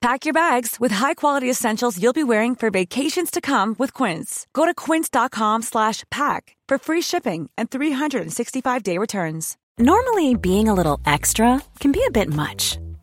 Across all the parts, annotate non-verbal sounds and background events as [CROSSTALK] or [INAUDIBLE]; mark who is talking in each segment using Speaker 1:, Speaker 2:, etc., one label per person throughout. Speaker 1: Pack your bags with high-quality essentials you'll be wearing for vacations to come with Quince. Go to quince.com slash pack for free shipping and 365-day returns.
Speaker 2: Normally, being a little extra can be a bit much,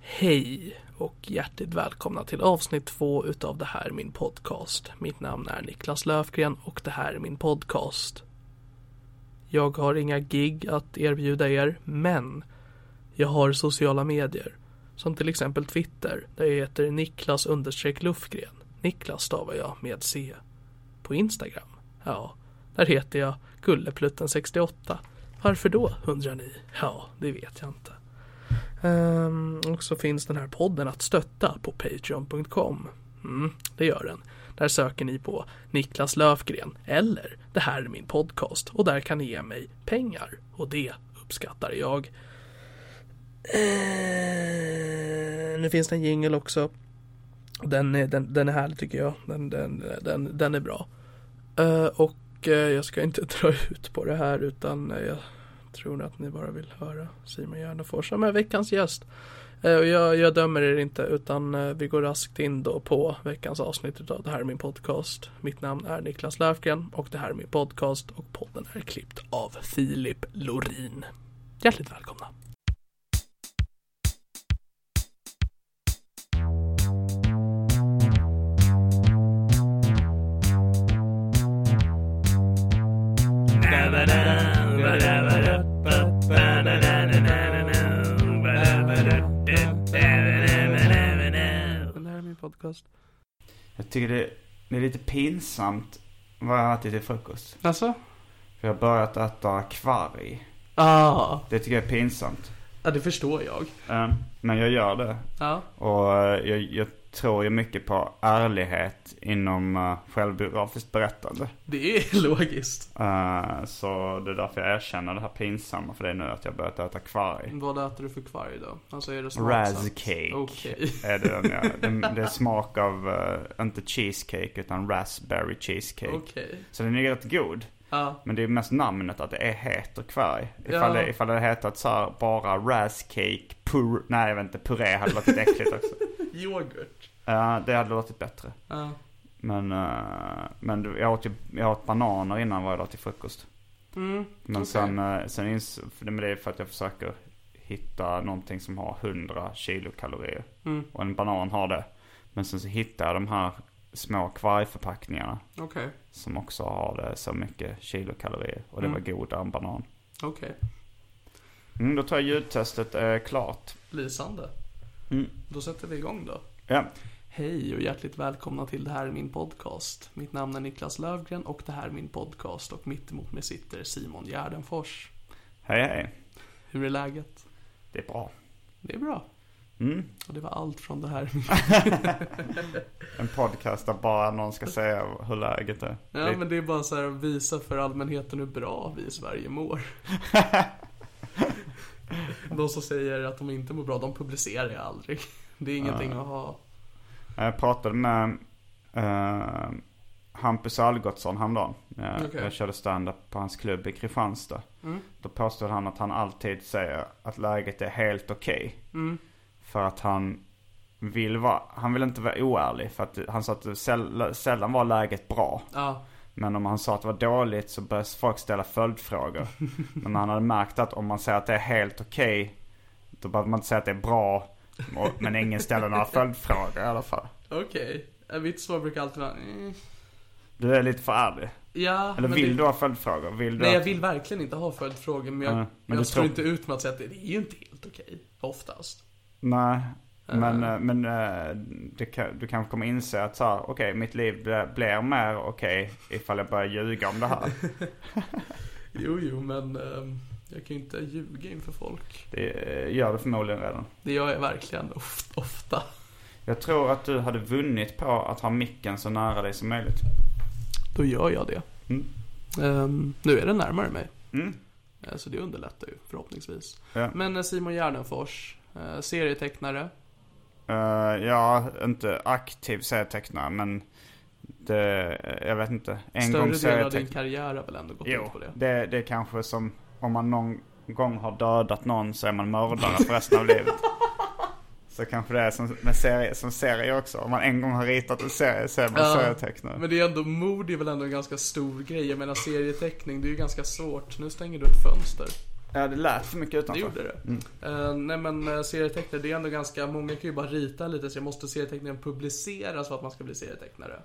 Speaker 3: Hej och hjärtligt välkomna till avsnitt två utav Det här är min podcast. Mitt namn är Niklas Löfgren och det här är min podcast. Jag har inga gig att erbjuda er, men jag har sociala medier. Som till exempel Twitter, där jag heter Niklas understreck Lufgren. Niklas stavar jag med C. På Instagram? Ja, där heter jag Gulleplutten68. Varför då, undrar ni? Ja, det vet jag inte. Ehm, och så finns den här podden att stötta på Patreon.com. Mm, det gör den. Där söker ni på Niklas Löfgren eller Det här är min podcast och där kan ni ge mig pengar och det uppskattar jag. Ehm, nu finns det en jingle också. Den är, den, den är härlig tycker jag. Den, den, den, den är bra. Eh, och eh, jag ska inte [LAUGHS] dra ut på det här utan eh, jag tror att ni bara vill höra Simon Gärdenfors som är veckans gäst. Eh, och jag, jag dömer er inte utan eh, vi går raskt in då på veckans avsnitt utav Det här är min podcast. Mitt namn är Niklas Löfgren och det här är min podcast och podden är klippt av Filip Lorin. Hjärtligt välkomna! Det här är min podcast.
Speaker 4: Jag tycker det, det är lite pinsamt vad jag har ätit till frukost.
Speaker 3: Alltså?
Speaker 4: För jag har börjat äta kvarg.
Speaker 3: Ah,
Speaker 4: Det tycker jag är pinsamt.
Speaker 3: ja, det förstår jag.
Speaker 4: Eh, Men jag gör det.
Speaker 3: Ja.
Speaker 4: Och eh, jag, jag tror ju mycket på ärlighet inom eh, självbiografiskt berättande.
Speaker 3: Det är [LAUGHS] logiskt.
Speaker 4: Eh, Så det är därför jag erkänner det här pinsamma för det är nu att jag har börjat äta kvarg.
Speaker 3: Vad äter du för kvarg då? Alltså är det smaksatt?
Speaker 4: Razcake
Speaker 3: Okej. [LAUGHS]
Speaker 4: är det den jag, det, det är smak av, eh, inte cheesecake utan raspberry cheesecake.
Speaker 3: Okej.
Speaker 4: Så den är rätt god.
Speaker 3: Ja.
Speaker 4: Men det är mest namnet att det är heter kvarg. Ifall,
Speaker 3: Ja.
Speaker 4: det, ifall det hade hetat så här bara rascake, pur, nej jag vet inte, puré hade varit lite äckligt också.
Speaker 3: Yoghurt.
Speaker 4: Eh, det hade låtit bättre.
Speaker 3: Ja.
Speaker 4: Men, eh, men du- jag åt, ju, jag åt bananer innan varje dag till frukost.
Speaker 3: Mm.
Speaker 4: Men
Speaker 3: okej.
Speaker 4: sen, eh, sen ins, för det, men det är för att jag försöker hitta någonting som har 100 kilokalorier.
Speaker 3: Mm.
Speaker 4: Och en banan har det. Men sen så hittar jag de här små kvargförpackningarna.
Speaker 3: Okej.
Speaker 4: Som också har det så mycket kilokalorier. Och det
Speaker 3: Mm.
Speaker 4: var godare än banan.
Speaker 3: Okej.
Speaker 4: Mm, då tror jag ljudtestet är klart.
Speaker 3: Lysande.
Speaker 4: Mm.
Speaker 3: Då sätter vi igång då.
Speaker 4: Ja.
Speaker 3: Hej och hjärtligt välkomna till Det här är min podcast. Mitt namn är Niklas Lövgren och det här är min podcast och mitt emot mig sitter Simon Gärdenfors.
Speaker 4: Hej hej.
Speaker 3: Hur är läget?
Speaker 4: Det är bra.
Speaker 3: Det är bra.
Speaker 4: Mm.
Speaker 3: Och det var allt från det här. [LAUGHS]
Speaker 4: En podcast där bara någon ska säga hur läget är.
Speaker 3: Ja, men det är bara så här att visa för allmänheten hur bra vi i Sverige
Speaker 4: [LAUGHS]
Speaker 3: mår. De som säger att de inte mår bra, de publicerar jag aldrig.
Speaker 4: Ah.
Speaker 3: Det är ingenting att ha.
Speaker 4: Jag pratade med eh, Hampus Algotsson häromdagen. Eh,
Speaker 3: Okej. Mm.
Speaker 4: Jag körde stand-up på hans klubb i Kristianstad. Då påstod han att han alltid säger att läget är helt okej.
Speaker 3: Mm.
Speaker 4: För att han vill vara, han vill inte vara oärlig. För att han sa att det säll, sällan var läget bra.
Speaker 3: Ja.
Speaker 4: Men om han sa att det var dåligt så började folk
Speaker 3: [LAUGHS]
Speaker 4: ställa följdfrågor. Men han hade märkt att om man säger att det är helt okej, då behöver man inte säga att det är bra. Och- Men ingen ställer några följdfrågor i alla fall.
Speaker 3: Okej. Okay. Mitt svar brukar alltid vara... Mm.
Speaker 4: Du är lite för ärlig.
Speaker 3: Ja.
Speaker 4: Eller
Speaker 3: men
Speaker 4: vill
Speaker 3: det-
Speaker 4: du ha följdfrågor? Vill du
Speaker 3: Nej, jag
Speaker 4: att-
Speaker 3: vill verkligen inte ha följdfrågor, men jag,
Speaker 4: Nej, men
Speaker 3: jag
Speaker 4: du
Speaker 3: står
Speaker 4: tror-
Speaker 3: inte ut med att säga att det, det är ju inte helt okej, oftast.
Speaker 4: Nej. Men, eh, men eh, det kan, du kanske kommer inse att så här, okej, mitt liv blir- blir mer okej ifall jag börjar ljuga om
Speaker 3: [LAUGHS]
Speaker 4: det här.
Speaker 3: Jo, jo, men ehm, jag kan ju inte ljuga inför folk.
Speaker 4: Det eh, gör du förmodligen redan.
Speaker 3: Det gör jag verkligen of- ofta.
Speaker 4: Jag tror att du hade vunnit på att ha micken så nära dig som möjligt.
Speaker 3: Då gör jag det.
Speaker 4: Mm.
Speaker 3: Ehm, nu är det närmare mig,
Speaker 4: Mm.
Speaker 3: eh, så det underlättar ju förhoppningsvis.
Speaker 4: Ja.
Speaker 3: Men eh, Simon Gärdenfors, eh, serietecknare.
Speaker 4: Eh, ja, inte aktiv serietecknare men det, eh, jag vet inte.
Speaker 3: Större
Speaker 4: En gång
Speaker 3: delen av din
Speaker 4: serietecknare.
Speaker 3: karriär har väl ändå gått
Speaker 4: Jo,
Speaker 3: ut på det?
Speaker 4: det, det är kanske som om man någon gång har dödat någon så är man mördare för resten av livet. Så kanske det är som, med serie, som serie också. Om man en gång har ritat en serie så är man
Speaker 3: Ja,
Speaker 4: serietecknare.
Speaker 3: Men det är ändå, mod är väl ändå en ganska stor grej. Jag menar serieteckning, det är ju ganska svårt. Nu stänger du ett fönster.
Speaker 4: Ja, det lät för mycket
Speaker 3: Det
Speaker 4: utanför.
Speaker 3: gjorde det. Eh, nej men uh, serietecknare, det är ändå ganska, många kan ju bara rita lite så jag måste serieteckningen publiceras för att man ska bli serietecknare.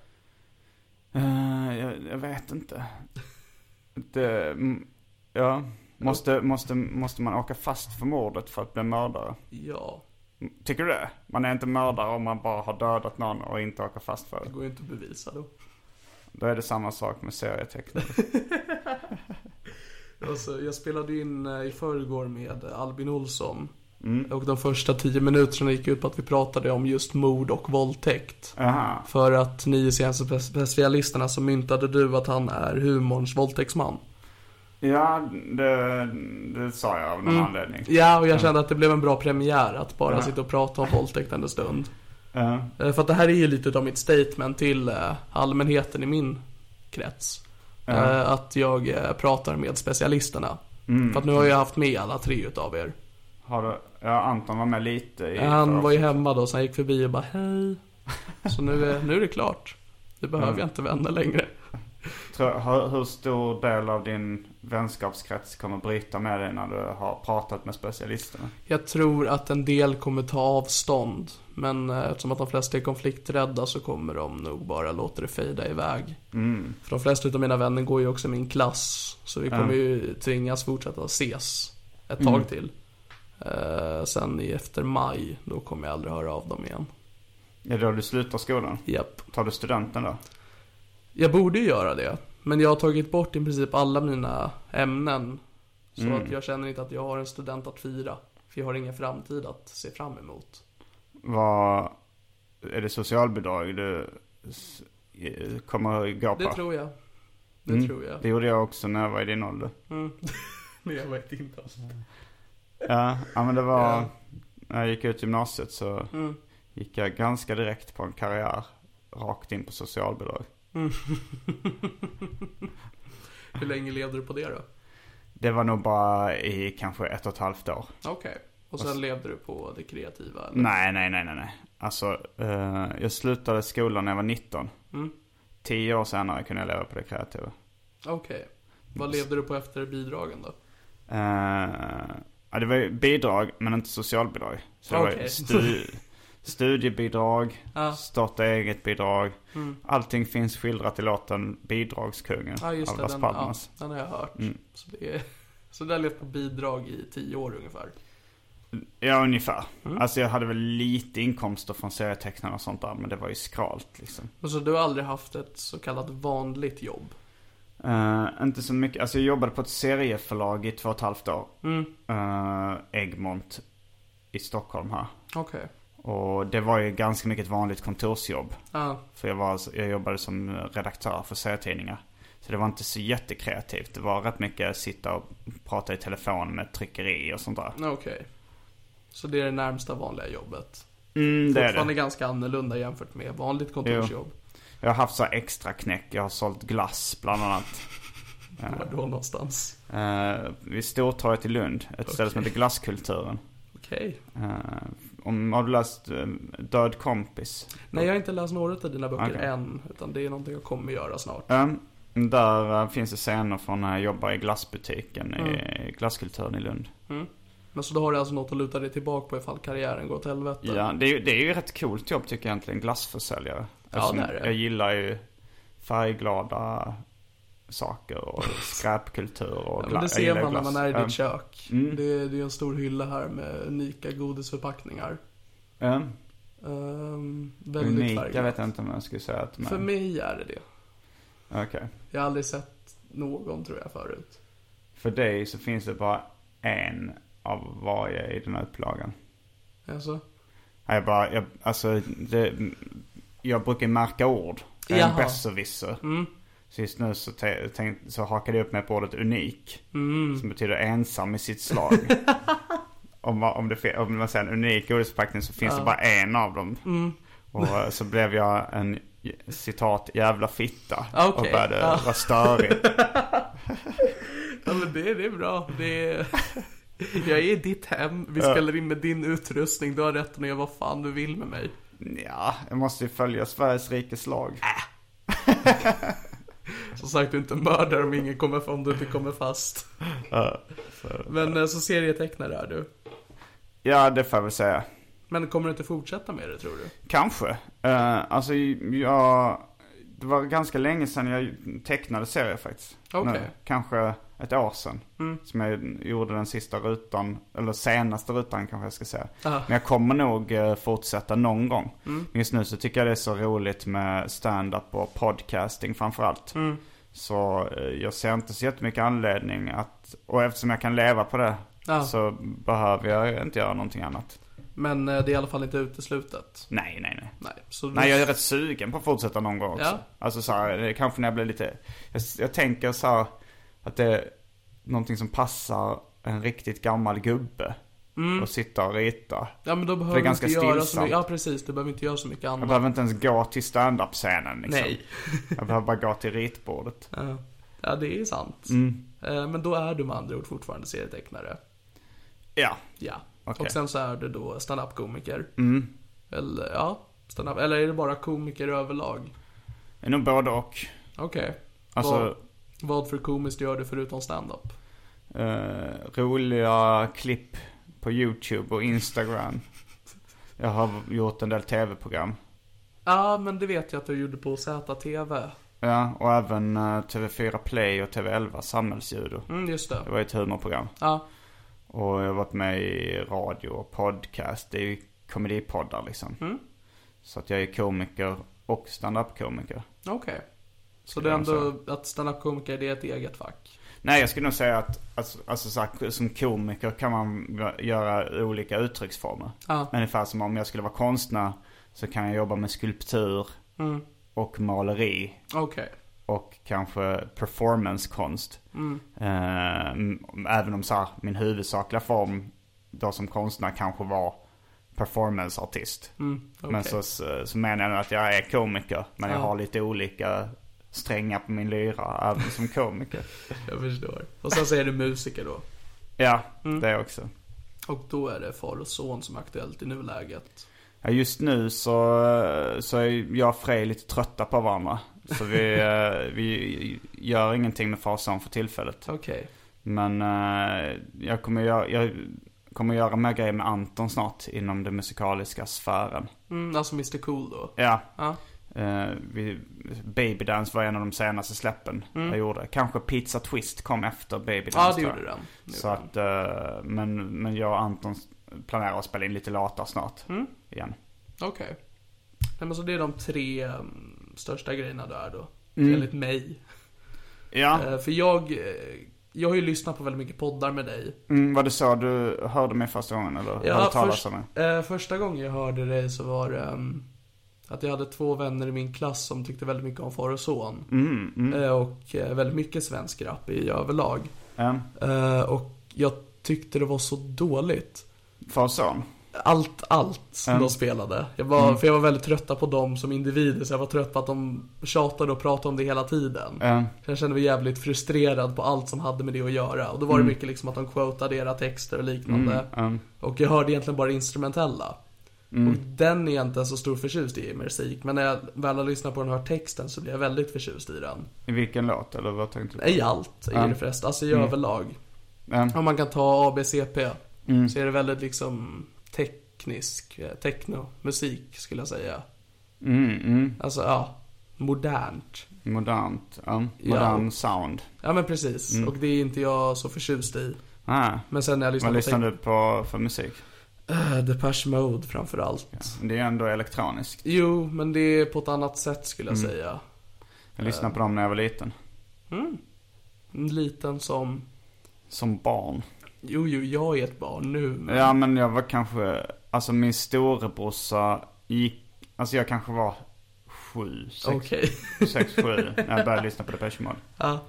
Speaker 4: Eh, jag, jag vet inte. Det, mm, ja. Måste, måste, måste man åka fast för mordet för att bli mördare?
Speaker 3: Ja,
Speaker 4: Tycker du det? Man är inte mördare om man bara har dödat någon och inte åker fast för
Speaker 3: det
Speaker 4: det.
Speaker 3: går ju inte att bevisa då.
Speaker 4: Då är det samma sak
Speaker 3: [LAUGHS]
Speaker 4: med serietecknare.
Speaker 3: Alltså, jag spelade in eh, i förrgår med Albin Olsson. Och de första tio minuterna gick ut på att vi pratade om just mord och våldtäkt.
Speaker 4: Aha.
Speaker 3: För att ni i senaste pres- specialisterna så myntade du att han är humorns våldtäktsman.
Speaker 4: Ja, det, det sa jag av någon
Speaker 3: Mm.
Speaker 4: anledning.
Speaker 3: Ja, och jag kände att det blev en bra premiär att bara sitta och prata om våldtäkt en stund.
Speaker 4: Ja.
Speaker 3: Eh, För att det här är ju lite utav mitt statement till eh, allmänheten i min krets. Eh, Att jag eh, pratar med specialisterna. För att nu har jag haft med alla tre utav er.
Speaker 4: Har du, ja, Anton var med lite i
Speaker 3: Han
Speaker 4: förra
Speaker 3: var ju
Speaker 4: avsnittet.
Speaker 3: hemma då, så han gick förbi och bara hej. Så nu är, nu är det klart. Nu behöver jag inte vänner längre.
Speaker 4: Tror- hur, hur stor del av din vänskapskrets kommer bryta med dig när du har pratat med specialisterna?
Speaker 3: Jag tror att en del kommer ta avstånd. Men eh, eftersom att de flesta är konflikträdda så kommer de nog bara låta det fejda iväg.
Speaker 4: Mm.
Speaker 3: För de flesta utav mina vänner går ju också i min klass. Så vi kommer ju tvingas fortsätta ses ett tag till. Eh, sen i efter maj, då kommer jag aldrig höra av dem igen.
Speaker 4: Ja, då du slutar skolan.
Speaker 3: Japp.
Speaker 4: Tar du studenten då?
Speaker 3: Jag borde ju göra det. Men jag har tagit bort i princip alla mina ämnen. Så att jag känner inte att jag har en student att fira. För jag har ingen framtid att se fram emot.
Speaker 4: Vad, är det socialbidrag du s- eh, kommer gå på?
Speaker 3: Det tror jag. Det tror jag.
Speaker 4: Mm. Det gjorde jag också när jag var i din ålder.
Speaker 3: Men jag vet inte alltså.
Speaker 4: Ja, ja men det var... När jag gick ut gymnasiet så
Speaker 3: Mm.
Speaker 4: gick jag ganska direkt på en karriär rakt in på socialbidrag.
Speaker 3: Hur länge levde du på det då?
Speaker 4: Det var nog bara i kanske ett och ett halvt år.
Speaker 3: Okej. Och sen levde du på det kreativa? Eller?
Speaker 4: Nej, nej, nej, nej, nej. Alltså, eh, jag slutade skolan när jag var 19.
Speaker 3: Mm.
Speaker 4: Tio år senare kunde jag leva på det kreativa.
Speaker 3: Okej. Vad levde du på efter bidragen då?
Speaker 4: Eh, ja, det var ju bidrag, men inte socialbidrag. Så det var
Speaker 3: Okej.
Speaker 4: ju stu-
Speaker 3: [LAUGHS]
Speaker 4: studiebidrag, starta eget-bidrag. Allting finns skildrat i låten Bidragskungen
Speaker 3: Mm. Ja ah, just
Speaker 4: av
Speaker 3: det,
Speaker 4: Las
Speaker 3: den, ja,
Speaker 4: Palmas. Mm.
Speaker 3: den har jag hört. Så, det är, [LAUGHS] så du har levt på bidrag i tio år ungefär?
Speaker 4: Ja. ungefär. Alltså jag hade väl lite inkomster från serietecknarna och sånt där, men det var ju skralt liksom.
Speaker 3: Och så du har aldrig haft ett så kallat vanligt jobb?
Speaker 4: Eh, inte så mycket, alltså jag jobbade på ett serieförlag i två och ett halvt år. Eh, Egmont i Stockholm här.
Speaker 3: Okej.
Speaker 4: Och det var ju ganska mycket ett vanligt kontorsjobb.
Speaker 3: Ja.
Speaker 4: För jag, var, alltså, jag jobbade som redaktör för serietidningar. Så det var inte så jättekreativt. Det var rätt mycket sitta och prata i telefon med tryckeri och sånt där.
Speaker 3: Okej. Så det är det närmsta vanliga jobbet?
Speaker 4: Mm, det är
Speaker 3: Fortfarande
Speaker 4: det.
Speaker 3: ganska annorlunda jämfört med vanligt kontorsjobb?
Speaker 4: Jag har haft så här extra knäck. Jag har sålt glass bland annat.
Speaker 3: [LAUGHS] Var då någonstans?
Speaker 4: Eh, vid Stortorget i Lund. Ett ställe som
Speaker 3: Okej.
Speaker 4: heter Glasskulturen.
Speaker 3: Okej.
Speaker 4: Eh, om, har du läst eh, Död kompis?
Speaker 3: Nej, jag har inte läst några av dina böcker
Speaker 4: Okej.
Speaker 3: än. Utan det är någonting jag kommer göra snart.
Speaker 4: Ehm, där eh, finns det scener från när jag jobbar i glassbutiken
Speaker 3: Mm.
Speaker 4: i glasskulturen i Lund.
Speaker 3: Men så då har du alltså något att luta dig tillbaka på ifall karriären går åt helvete.
Speaker 4: Ja, det är, ju- det är ju ett rätt coolt jobb tycker jag egentligen, glassförsäljare.
Speaker 3: Ja,
Speaker 4: Eftersom
Speaker 3: det är det.
Speaker 4: Jag gillar ju färgglada saker och
Speaker 3: [LAUGHS]
Speaker 4: skräpkultur och
Speaker 3: Ja, men
Speaker 4: gla-
Speaker 3: det
Speaker 4: jag
Speaker 3: ser
Speaker 4: gillar
Speaker 3: man när
Speaker 4: glass.
Speaker 3: man är i
Speaker 4: Ehm,
Speaker 3: ditt kök.
Speaker 4: Mm.
Speaker 3: Det, är, det är en stor hylla här med unika godisförpackningar.
Speaker 4: ehm,
Speaker 3: Ehm, väldigt
Speaker 4: Unik, jag
Speaker 3: färgglatt.
Speaker 4: vet inte om jag skulle säga att man...
Speaker 3: För mig är det det.
Speaker 4: Okej.
Speaker 3: Jag har aldrig sett någon tror jag förut.
Speaker 4: För dig så finns det bara en av varje i den här upplagan.
Speaker 3: Alltså,
Speaker 4: Nej, Jag bara, jag, alltså, det, jag brukar märka ord. Jag är en
Speaker 3: Jaha. Mm.
Speaker 4: besserwisser. Sist nu så, te, tänk, så hakade jag upp mig på ordet unik.
Speaker 3: Mm.
Speaker 4: Som betyder ensam i sitt slag.
Speaker 3: [LAUGHS]
Speaker 4: om, man- om, det, fin- om man säger en unik ordförpackning så finns det bara en av dem.
Speaker 3: Mm.
Speaker 4: Och eh, så blev jag en citat jävla fitta.
Speaker 3: Ah,
Speaker 4: Och
Speaker 3: okej.
Speaker 4: började
Speaker 3: Ah.
Speaker 4: vara störig.
Speaker 3: ja, men det, det är bra. Det är... [LAUGHS] Jag är i ditt hem, vi spelar in med din utrustning, du har rätt att göra vad fan du vill med mig.
Speaker 4: Ja, jag måste ju följa Sveriges rikes lag.
Speaker 3: Som sagt, du är inte en mördare om, ingen kommer, om du inte kommer fast. Men eh, så serietecknare är du.
Speaker 4: Ja, det får jag väl säga.
Speaker 3: Men kommer du inte fortsätta med det tror du?
Speaker 4: Kanske. Eh, alltså jag... Det var ganska länge sedan jag tecknade serier faktiskt.
Speaker 3: Okej. Mm.
Speaker 4: Nu, kanske ett år sedan. Som jag gjorde den sista rutan, eller senaste rutan kanske jag ska säga.
Speaker 3: Aha. Mm.
Speaker 4: Men jag kommer nog eh, fortsätta någon gång. Men Just nu så tycker jag det är så roligt med stand-up och podcasting framförallt. Mm. Så eh, jag ser inte så jättemycket anledning att, och eftersom jag kan leva på det
Speaker 3: Ja.
Speaker 4: så behöver jag inte göra någonting annat.
Speaker 3: Men eh, det är i alla fall inte uteslutet.
Speaker 4: Nej, nej, nej.
Speaker 3: Nej, så
Speaker 4: Nej jag är rätt sugen på att fortsätta någon gång också.
Speaker 3: Ja.
Speaker 4: Alltså så här, det är kanske när jag blir lite, jag, jag tänker så här att det är någonting som passar en riktigt gammal gubbe.
Speaker 3: Mm.
Speaker 4: Och sitta och rita.
Speaker 3: Ja men då behöver
Speaker 4: det är
Speaker 3: du inte
Speaker 4: ganska
Speaker 3: göra så
Speaker 4: stillsamt.
Speaker 3: mycket, ja precis, du behöver inte göra så mycket
Speaker 4: Jag
Speaker 3: annat.
Speaker 4: behöver inte ens gå till standup-scenen liksom.
Speaker 3: Nej.
Speaker 4: [LAUGHS] jag behöver bara gå till ritbordet.
Speaker 3: Ja. Ja det är sant.
Speaker 4: Mm.
Speaker 3: Eh, Men då är du med andra ord fortfarande serietecknare.
Speaker 4: Ja.
Speaker 3: Ja.
Speaker 4: Okej. Mm.
Speaker 3: Och sen så är du då standup-komiker. Eller ja, standup. Eller är det bara komiker överlag?
Speaker 4: Det är nog både och.
Speaker 3: Okej.
Speaker 4: Alltså-
Speaker 3: Vad, vad för komiskt gör du förutom standup?
Speaker 4: Eh, roliga klipp på YouTube och Instagram. Jag har gjort en del tv-program.
Speaker 3: Ja, men det vet jag att du gjorde på ZTV.
Speaker 4: Ja, och även eh, TV4 Play och TV11 Samhällsljud.
Speaker 3: Mm, just det.
Speaker 4: Det var ett humorprogram.
Speaker 3: Ja,
Speaker 4: Och jag har varit med i radio och podcast. Det är ju komedipoddar liksom. Så att jag är komiker och stand-up-komiker.
Speaker 3: okej. Så
Speaker 4: Skulle
Speaker 3: det är
Speaker 4: jag
Speaker 3: ändå att standup-komiker, det är ett eget fack?
Speaker 4: Nej, jag skulle nog säga att alltså, alltså, så här, som komiker kan man göra olika uttrycksformer.
Speaker 3: Ja.
Speaker 4: Ungefär som om jag skulle vara konstnär så kan jag jobba med skulptur och maleri
Speaker 3: Okej.
Speaker 4: och kanske performancekonst. Eh, även om så här, min huvudsakliga form då som konstnär kanske var performanceartist.
Speaker 3: Mm,
Speaker 4: Men så, så, så menar jag att jag är komiker men jag
Speaker 3: Ja.
Speaker 4: har lite olika strängar på min lyra även som komiker.
Speaker 3: Jag förstår. Och sen så är du musiker då.
Speaker 4: Ja, det också.
Speaker 3: Och då är det far och son som är aktuellt i nuläget.
Speaker 4: Ja, just nu så, så är jag och Frej lite trötta på varandra. Så vi, eh, vi gör ingenting med farsan för tillfället.
Speaker 3: Okej.
Speaker 4: Men eh, jag kommer, göra, jag kommer göra mer grejer med Anton snart inom den musikaliska sfären.
Speaker 3: Mm, alltså Mr Cool då.
Speaker 4: Ja.
Speaker 3: Ja.
Speaker 4: Eh, vi, Baby Dance var en av de senaste släppen jag gjorde. Kanske Pizza Twist kom efter Baby Dance.
Speaker 3: Mm. Ja, det
Speaker 4: tror
Speaker 3: gjorde
Speaker 4: jag.
Speaker 3: den. Det
Speaker 4: Så
Speaker 3: gjorde
Speaker 4: att, eh, men, men jag och Anton planerar att spela in lite låtar snart.
Speaker 3: Mm.
Speaker 4: Igen.
Speaker 3: Okej. Nej men så det är de tre mm, största grejerna där då. Enligt mig.
Speaker 4: Mm. Ja.
Speaker 3: Eh, för jag, eh, jag har ju lyssnat på väldigt mycket poddar med dig.
Speaker 4: Mm, vad du sa, du hörde mig första gången eller? Ja, hörde talas om mig?
Speaker 3: eh, första gången jag hörde dig så var det ehm, att jag hade två vänner i min klass som tyckte väldigt mycket om far och son.
Speaker 4: Mm,
Speaker 3: Eh, och eh, väldigt mycket svensk rap i överlag.
Speaker 4: En
Speaker 3: Eh, och jag tyckte det var så dåligt.
Speaker 4: far och son?
Speaker 3: allt, allt
Speaker 4: Mm.
Speaker 3: de spelade. Jag var, För jag var väldigt trötta på dem som individer, så jag var trött på att de tjatade och pratade om det hela tiden.
Speaker 4: Eh,
Speaker 3: Så jag kände mig jävligt frustrerad på allt som hade med det att göra. Och då var det mycket liksom att de quotade era texter och liknande.
Speaker 4: eh,
Speaker 3: Och jag hörde egentligen bara instrumentella. Och den är jag inte så stor förtjust i, i musik. Men när jag väl har lyssnat på den och hört texten så blir jag väldigt förtjust i den.
Speaker 4: I vilken låt eller vad tänkte du?
Speaker 3: I allt, i
Speaker 4: Ja.
Speaker 3: det förresten. Alltså i överlag.
Speaker 4: Eh,
Speaker 3: Om man kan ta ABCP
Speaker 4: Mm.
Speaker 3: så är det väldigt liksom teknisk, eh, techno-musik skulle jag säga.
Speaker 4: mm, mm.
Speaker 3: Alltså ja, modernt.
Speaker 4: Modernt. eh,
Speaker 3: Ja.
Speaker 4: modern sound.
Speaker 3: Ja men precis,
Speaker 4: Mm.
Speaker 3: och det är inte jag så förtjust i.
Speaker 4: Ah.
Speaker 3: Men sen när jag lyssnar
Speaker 4: Vad
Speaker 3: på
Speaker 4: lyssnar du på för musik?
Speaker 3: Eh, Depeche Mode framförallt.
Speaker 4: Det är ändå elektroniskt.
Speaker 3: Jo, men det är på ett annat sätt skulle
Speaker 4: Mm.
Speaker 3: jag säga.
Speaker 4: Jag lyssnade på dem när jag var liten.
Speaker 3: En liten som...
Speaker 4: Som barn.
Speaker 3: Jo, jo, jag är ett barn nu. Men...
Speaker 4: Ja men jag var kanske, alltså min storebrorsa gick, alltså jag kanske var sju, sex,
Speaker 3: Okej.
Speaker 4: sex sju när jag började lyssna på Depeche Mode.
Speaker 3: [LAUGHS] ja.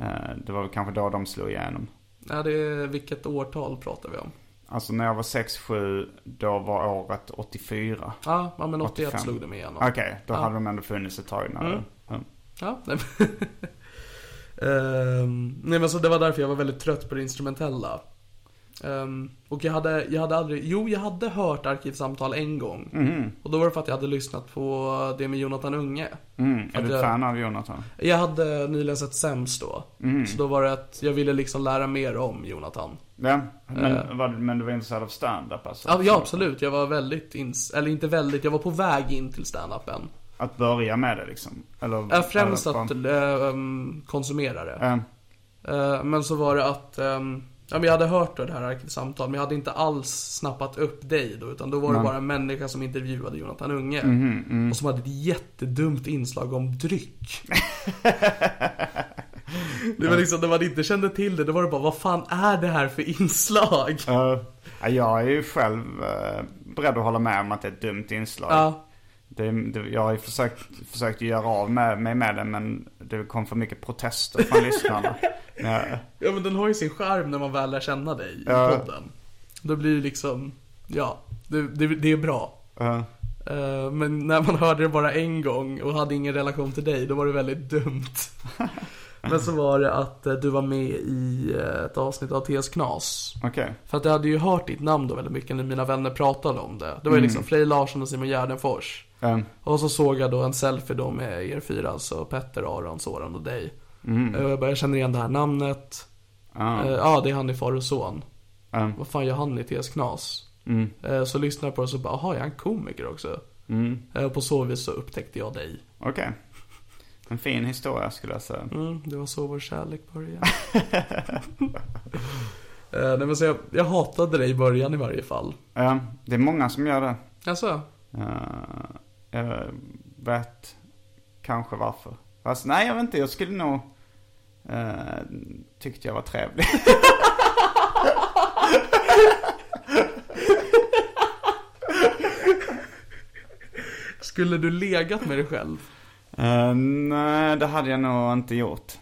Speaker 4: Eh, Det var väl kanske då de slog igenom.
Speaker 3: ja, det är... Vilket årtal pratar vi om?
Speaker 4: Alltså när jag var sex sju då var året 84.
Speaker 3: Ja, ja men 81
Speaker 4: 85.
Speaker 3: slog de igenom.
Speaker 4: Okej, då hade de ändå funnits ett tag när
Speaker 3: Mm.
Speaker 4: det, mm.
Speaker 3: Ja, nej. men- [LAUGHS] Ehm, nej men så det var därför jag var väldigt trött på det instrumentella. Ehm, och jag hade, jag hade aldrig, jo jag hade hört arkivsamtal en gång. Och då var det för att jag hade lyssnat på det med Jonathan Unge.
Speaker 4: Mm. Är
Speaker 3: Att
Speaker 4: du
Speaker 3: jag-
Speaker 4: fan av Jonathan?
Speaker 3: Jag hade nyligen sett Sems då. Så då var det att jag ville liksom lära mer om Jonathan.
Speaker 4: Ja, men, var, men du var intresserad av stand-up alltså?
Speaker 3: Eh. Ja, ja absolut, jag var väldigt, ins- eller inte väldigt, jag var på väg in till standupen.
Speaker 4: Att börja med det liksom? Eller?
Speaker 3: Äh, främst
Speaker 4: eller,
Speaker 3: att ehm, konsumera det.
Speaker 4: Ja.
Speaker 3: Eh, Men så var det att ehm, ja, men jag hade hört då det här arkivsamtalet men jag hade inte alls snappat upp dig då utan då var det bara en människa som intervjuade Jonathan Unge.
Speaker 4: Mm-hmm, mm.
Speaker 3: Och som hade ett jättedumt inslag om
Speaker 4: [LAUGHS]
Speaker 3: dryck. det var liksom när man inte kände till det då var det bara vad fan är det här för inslag?
Speaker 4: Eh, ja, jag är ju själv eh, beredd att hålla med om att det är ett dumt inslag.
Speaker 3: Ja,
Speaker 4: Det, det, jag har ju försökt, försökt göra av med, mig med det men det kom för mycket
Speaker 3: [LAUGHS]
Speaker 4: protester från lyssnarna. Men jag-
Speaker 3: ja men den har ju sin charm när man väl lär känna dig i
Speaker 4: Ja.
Speaker 3: podden. Då blir det liksom, ja, det, det, det är bra.
Speaker 4: eh,
Speaker 3: Eh, Men när man hörde det bara en gång och hade ingen relation till dig, då var det väldigt dumt. Men så var det att eh, du var med i eh, ett avsnitt av TS Knas.
Speaker 4: Okej.
Speaker 3: För att jag hade ju hört ditt namn då väldigt mycket när mina vänner pratade om det. Det var ju liksom Frej Larsson och Simon Gärdenfors.
Speaker 4: Eh,
Speaker 3: Och så såg jag då en selfie då med er fyra, alltså Petter, Aron, Soran och dig.
Speaker 4: Mm.
Speaker 3: Eh, Och jag bara, jag känner igen det här namnet.
Speaker 4: ah,
Speaker 3: Eh, Ja, det är han i far och son.
Speaker 4: eh,
Speaker 3: Vad fan gör han i TS Knas?
Speaker 4: mm,
Speaker 3: Eh, Så lyssnade jag på det och så bara, jaha, är han komiker också?
Speaker 4: mm,
Speaker 3: Eh, Och på så vis så upptäckte jag dig.
Speaker 4: Okej. En fin historia skulle jag säga.
Speaker 3: Mm, det var så vår kärlek
Speaker 4: [LAUGHS]
Speaker 3: började. Eh, nej men så jag, jag hatade dig i början i varje fall.
Speaker 4: Eh, det är många som gör det.
Speaker 3: Alltså,
Speaker 4: Eh, jag vet kanske varför. Fast nej, jag vet inte. Jag skulle nog... eh, tyckte jag var trevlig. [LAUGHS]
Speaker 3: skulle du legat med dig själv?
Speaker 4: Eh, nej, det hade jag nog inte gjort.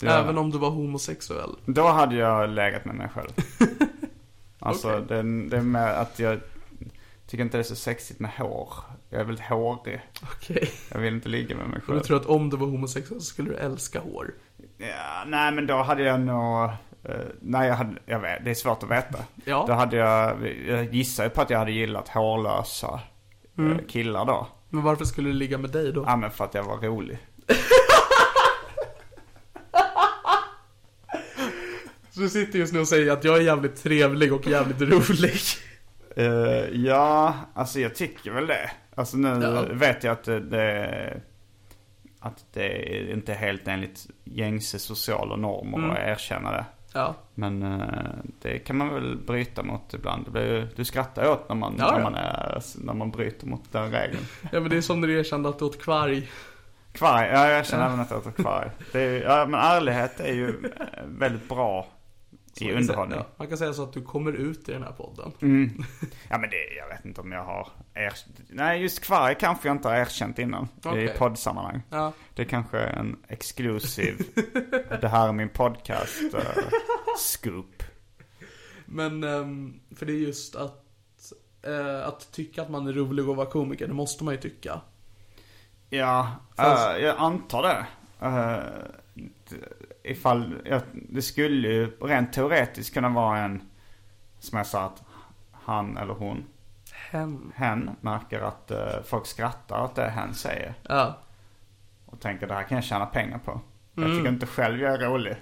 Speaker 4: Det-
Speaker 3: Även om du var homosexuell?
Speaker 4: Då hade jag legat med mig själv.
Speaker 3: [LAUGHS]
Speaker 4: alltså,
Speaker 3: Okej.
Speaker 4: det, det är med att jag tycker inte det är så sexigt med hår. Jag är väldigt hårig.
Speaker 3: Okej.
Speaker 4: Jag vill inte ligga med mig
Speaker 3: Och du
Speaker 4: själv.
Speaker 3: tror att om du var homosexuell så skulle du älska hår?
Speaker 4: Ja, nej, men då hade jag nog... eh, nej, jag, hade, jag vet, det är svårt att veta.
Speaker 3: Ja.
Speaker 4: Då hade jag... Jag gissar ju på att jag hade gillat hårlösa eh,
Speaker 3: Mm.
Speaker 4: killar då.
Speaker 3: Men varför skulle du ligga med dig då?
Speaker 4: Ja, men för att jag var rolig.
Speaker 3: Så du sitter just nu och säger att jag är jävligt trevlig och [LAUGHS] jävligt rolig.
Speaker 4: Eh, ja, alltså jag tycker väl det. Alltså nu
Speaker 3: Ja.
Speaker 4: vet jag att det- det, att det är inte är helt enligt gängse sociala normer
Speaker 3: Mm.
Speaker 4: att erkänna det.
Speaker 3: Ja.
Speaker 4: Men eh, det kan man väl bryta mot ibland. Det blir, ju- du skrattar åt när man,
Speaker 3: Ja,
Speaker 4: när,
Speaker 3: ja.
Speaker 4: man är, när man bryter mot den regeln.
Speaker 3: ja, men det är som när du erkände att du åt kvarg.
Speaker 4: Kvarg, ja jag erkänner även att jag åt kvarg. Det är, ju- ja, men ärlighet är ju eh, väldigt bra i underhållning.
Speaker 3: Ja, man kan säga så att du kommer ut i den här podden.
Speaker 4: Mm. Ja men det, jag vet inte om jag har erkänt. Nej just kvarg kanske jag inte har erkänt innan. I
Speaker 3: Okej.
Speaker 4: poddsammanhang.
Speaker 3: Ja.
Speaker 4: Det kanske är en exklusiv,
Speaker 3: [LAUGHS]
Speaker 4: det här är min podcast, eh, scoop.
Speaker 3: Men, ehm, för det är just att eh, att tycka att man är rolig och vara komiker, det måste man ju tycka.
Speaker 4: Ja,
Speaker 3: Fanns-
Speaker 4: eh, jag antar det. Eh, d- ifall, jag, det skulle ju rent teoretiskt kunna vara en, som jag sa, att han eller hon,
Speaker 3: Hen.
Speaker 4: hen, märker att eh, folk skrattar åt det hen säger.
Speaker 3: Ja.
Speaker 4: Och tänker det här kan jag tjäna pengar på. Jag tycker inte själv jag är rolig.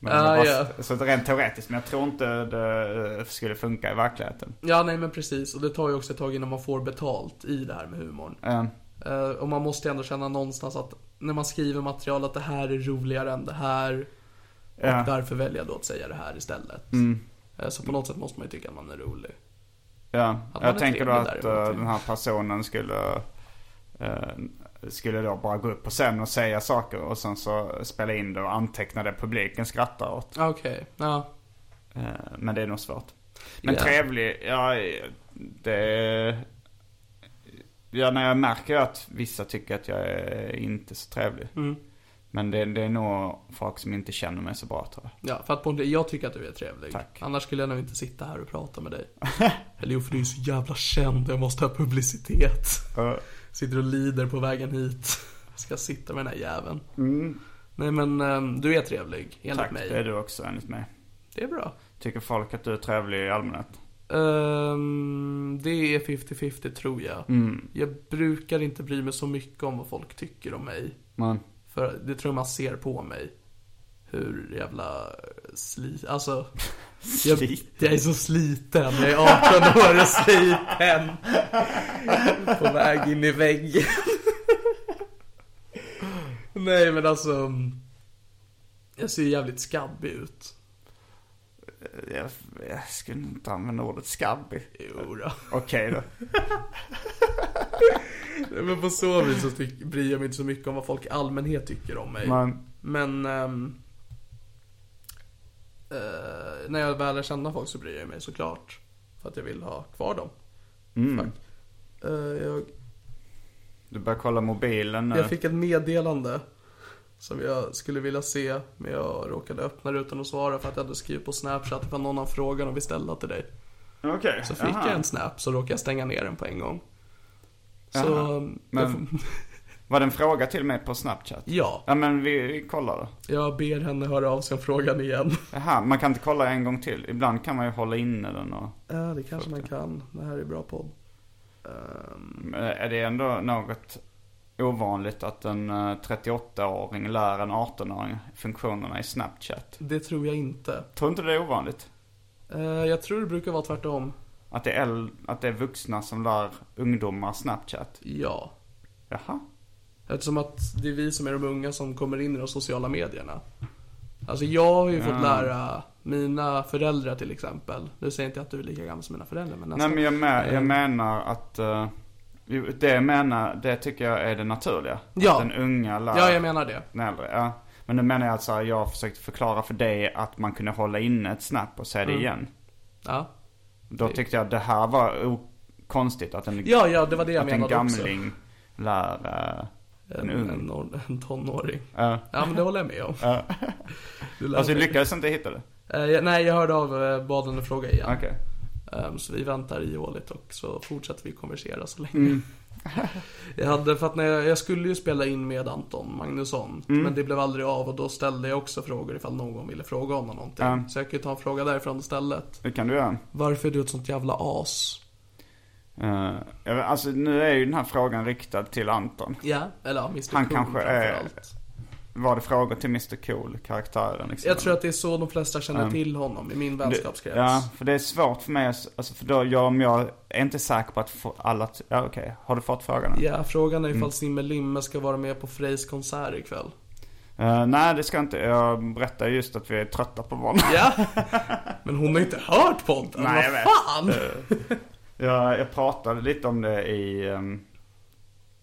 Speaker 4: Men
Speaker 3: Mm. Ah,
Speaker 4: bara-
Speaker 3: ja.
Speaker 4: Så att rent teoretiskt, men jag tror inte det eh, skulle funka i verkligheten.
Speaker 3: ja, nej men precis. Och det tar ju också ett tag innan man får betalt i det här med humorn.
Speaker 4: Eh,
Speaker 3: Eh, och man måste ju ändå känna någonstans att när man skriver material att det här är roligare än det här.
Speaker 4: Ja. Mm.
Speaker 3: Och därför väljer jag då att säga det här istället. Eh, så på något sätt måste man ju tycka att man är rolig.
Speaker 4: Ja,
Speaker 3: Att man är
Speaker 4: jag tänker då
Speaker 3: trevlig
Speaker 4: att
Speaker 3: däremot,
Speaker 4: eh,
Speaker 3: ja.
Speaker 4: den här personen skulle, eh, skulle då bara gå upp på scen och säga saker och sen så spela in det och anteckna det publiken skrattar åt.
Speaker 3: Ah, Okej, ja.
Speaker 4: Eh, men det är nog svårt. Men
Speaker 3: Ja.
Speaker 4: trevlig, ja det... Ja, när jag märker att vissa tycker att jag är inte så trevlig.
Speaker 3: Mm.
Speaker 4: Men det, det är nog folk som inte känner mig så bra tror jag.
Speaker 3: Ja, för att på en, jag tycker att du är trevlig.
Speaker 4: Tack.
Speaker 3: Annars skulle jag nog inte sitta här och prata med
Speaker 4: [LAUGHS]
Speaker 3: dig. Eller jo, för du är så jävla känd jag måste ha publicitet.
Speaker 4: Ja.
Speaker 3: Sitter och lider på vägen hit. Ska sitta med den här jäveln. Nej men, ehm, du är trevlig, enligt
Speaker 4: Mm. Tack,
Speaker 3: mig.
Speaker 4: det är du också enligt mig.
Speaker 3: Det är bra.
Speaker 4: Tycker folk att du är trevlig i allmänhet?
Speaker 3: Ehm, det är 50-50 tror jag. Jag brukar inte bry mig så mycket om vad folk tycker om mig.
Speaker 4: Men...
Speaker 3: För det tror jag man ser på mig. Hur jävla slit... Alltså... Jag,
Speaker 4: Sliten.
Speaker 3: jag är så sliten. Jag är 18 år och sliten. På väg in i väggen. Nej men alltså. Jag ser jävligt skabbig ut.
Speaker 4: Eh, Jag, jag skulle inte använda ordet skabbig.
Speaker 3: Jo då.
Speaker 4: Okej då.
Speaker 3: Nej, Men på så vis så tyck, bryr jag mig inte så mycket om vad folk i allmänhet tycker om mig.
Speaker 4: Men,
Speaker 3: Men ehm, eh, när jag väl lär känna folk så bryr jag mig såklart. För att jag vill ha kvar dem.
Speaker 4: mm,
Speaker 3: Eh, jag,
Speaker 4: du börjar kolla mobilen nu.
Speaker 3: jag fick ett meddelande som jag skulle vilja se men jag råkade öppna det utan att svara för att jag hade skrivit på Snapchat ifall någon har frågan och vill ställa till dig.
Speaker 4: Okej.
Speaker 3: Så fick
Speaker 4: aha.
Speaker 3: jag en Snap så råkade jag stänga ner den på en gång. Så, ehm,
Speaker 4: Jaha.
Speaker 3: jag
Speaker 4: Men-
Speaker 3: får- [LAUGHS]
Speaker 4: Var det en fråga till mig på Snapchat?
Speaker 3: ja,
Speaker 4: Ja men vi, vi kollar då.
Speaker 3: jag ber henne höra av sig om frågan igen.
Speaker 4: Jaha, man kan inte kolla en gång till. Ibland kan man ju hålla inne den och...
Speaker 3: Ja, det kanske man kan. Det här är bra podd. Ehm.
Speaker 4: Men eh, Är det ändå något ovanligt att en eh, 38-åring lär en 18-åring funktionerna i Snapchat?
Speaker 3: Det tror jag inte.
Speaker 4: Tror inte det är ovanligt?
Speaker 3: Eh, jag tror det brukar vara tvärtom.
Speaker 4: Att det är, äl- att det är vuxna som lär ungdomar Snapchat?
Speaker 3: Ja.
Speaker 4: Jaha.
Speaker 3: Eftersom att det är vi som är de unga som kommer in i de sociala medierna. Alltså jag har ju fått lära mina föräldrar till exempel. Nu säger jag inte att du är lika gammal som mina föräldrar men
Speaker 4: Nej
Speaker 3: nästan.
Speaker 4: men jag, me- jag
Speaker 3: Eh,
Speaker 4: menar att eh, jo, det jag menar, det tycker jag är det naturliga.
Speaker 3: Ja.
Speaker 4: Att den unga lär
Speaker 3: Ja, jag menar det.
Speaker 4: den äldre. Ja. Men nu menar jag alltså, jag har försökt förklara för dig att man kunde hålla inne ett snap och
Speaker 3: Mm.
Speaker 4: säga det igen.
Speaker 3: Ja.
Speaker 4: Då tyckte jag det här var o- konstigt att en,
Speaker 3: Ja, ja, det var det jag
Speaker 4: att en
Speaker 3: menade också.
Speaker 4: gamling lär eh, en
Speaker 3: En,
Speaker 4: ung.
Speaker 3: en, or- en tonåring.
Speaker 4: Ja.
Speaker 3: Ja men det håller jag med om. [LAUGHS] Du lär
Speaker 4: alltså du
Speaker 3: mig.
Speaker 4: lyckades inte hitta det?
Speaker 3: Eh, jag- nej, jag hörde av eh, bad henne fråga igen.
Speaker 4: Okej.
Speaker 3: Ehm, Så vi väntar ihåligt och så fortsätter vi konversera så länge.
Speaker 4: Mm.
Speaker 3: [LAUGHS] jag hade, för att när jag, jag skulle ju spela in med Anton Magnusson,
Speaker 4: Mm.
Speaker 3: men det blev aldrig av och då ställde jag också frågor ifall någon ville fråga honom någonting.
Speaker 4: Ja.
Speaker 3: Så jag kan ju ta en fråga därifrån istället.
Speaker 4: Det kan du göra.
Speaker 3: Varför är du ett sånt jävla as?
Speaker 4: Eh, jag vet- alltså nu är ju den här frågan riktad till Anton.
Speaker 3: Ja, eller ja, Mr
Speaker 4: Han
Speaker 3: cool
Speaker 4: kanske är-
Speaker 3: framförallt.
Speaker 4: Var det frågor till Mr Cool, karaktären liksom?
Speaker 3: Jag tror att det är så de flesta känner till honom i min vänskapskrets.
Speaker 4: Ja, för det är svårt för mig, att- alltså för då, jag, om jag är inte säker på att få alla, t- ja okej, har du fått frågan? nu?
Speaker 3: Ja, frågan är
Speaker 4: Mm.
Speaker 3: ifall Simmelimme ska vara med på Frejs konsert ikväll.
Speaker 4: Eh, nej det ska jag inte, jag berättar just att vi är trötta på varandra.
Speaker 3: Ja,
Speaker 4: [LAUGHS]
Speaker 3: men hon har inte hört podden.
Speaker 4: Nej, jag
Speaker 3: Vad
Speaker 4: vet.
Speaker 3: fan!
Speaker 4: jag, jag pratade lite om det i, ehm,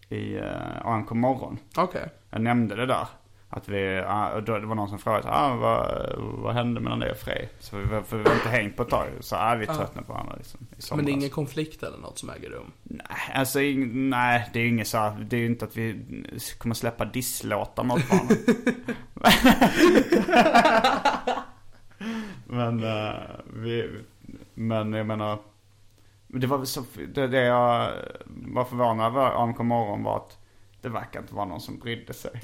Speaker 4: i uh, ANK morgon.
Speaker 3: Okej.
Speaker 4: Jag nämnde det där. Att vi, ah, och då, det var någon som frågade ah, vad, vad hände mellan dig och Frej? Så vi, var- för vi var inte hängt på ett tag. Så ah, vi är tröttna på varandra liksom, i somras.
Speaker 3: Men det är ingen konflikt eller något som äger rum?
Speaker 4: Nej, alltså ing- nej, det är ju inget så här, det är ju inte att vi kommer släppa disslåtar mot [LAUGHS] varandra. men, eh, vi, men jag menar, Men det var väl så, det, det jag var förvånad över AMK morgon var att det verkar inte vara någon som brydde sig.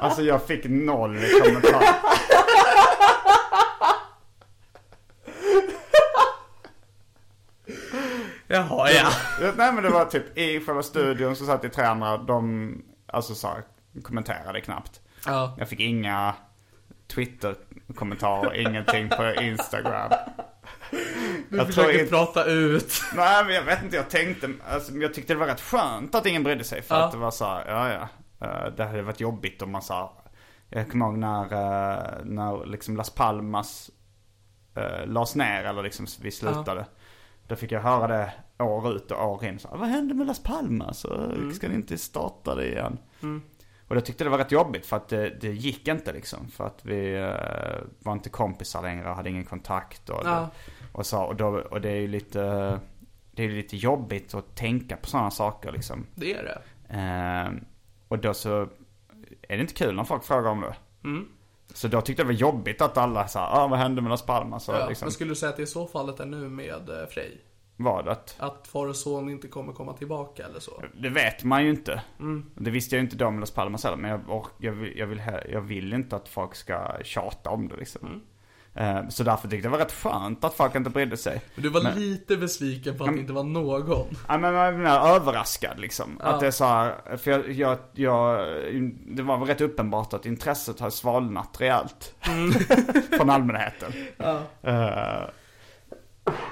Speaker 4: alltså jag fick noll kommentarer.
Speaker 3: Jaha, ja.
Speaker 4: Nej men det var typ i själva studion så satt det tre andra. De alltså så här, kommenterade knappt.
Speaker 3: ja.
Speaker 4: Jag fick inga Twitter-kommentarer, ingenting på Instagram.
Speaker 3: Du
Speaker 4: Jag
Speaker 3: försöker
Speaker 4: tror inte-
Speaker 3: prata
Speaker 4: [LAUGHS]
Speaker 3: ut.
Speaker 4: Nej men jag vet inte, jag tänkte, alltså, jag tyckte det var rätt skönt att ingen brydde sig. För
Speaker 3: Ja.
Speaker 4: att det var så här, ja ja. Eh, Det hade varit jobbigt om man sa, jag kommer ihåg när, eh, när liksom Las Palmas uh, lades ner eller liksom vi slutade. Då fick jag höra det år ut och år in. Så, här, Vad hände med Las Palmas? Och,
Speaker 3: Mm.
Speaker 4: Ska ni inte starta det igen? Och jag tyckte det var rätt jobbigt för att det, det gick inte liksom. För att vi eh, var inte kompisar längre och hade ingen kontakt. Och,
Speaker 3: Ja.
Speaker 4: och, så, och, då, och det är ju lite, det är ju lite jobbigt att tänka på sådana saker liksom.
Speaker 3: Det är det.
Speaker 4: Eh, och då så är det inte kul när folk frågar om det.
Speaker 3: Mm.
Speaker 4: Så då tyckte jag det var jobbigt att alla sa, ah, vad hände med Las Palmas? Så
Speaker 3: Ja.
Speaker 4: liksom,
Speaker 3: Men skulle du säga att det är så fallet är nu med eh, Frej?
Speaker 4: var det att,
Speaker 3: Att far och son inte kommer komma tillbaka eller så?
Speaker 4: det vet man ju inte. Det visste jag ju inte då med Las Palmas heller. Men jag, ork- jag, vill, jag, vill, he- jag vill inte att folk ska tjata om det liksom. Eh, Så därför tyckte jag det var rätt skönt att folk inte brydde sig.
Speaker 3: Men du var lite besviken på
Speaker 4: Mm.
Speaker 3: att det inte var någon.
Speaker 4: Ja, men man blir överraskad liksom. Att det är så här, för jag, jag, jag, det var väl rätt uppenbart att intresset har svalnat rejält. [LAUGHS] Från allmänheten. Eh,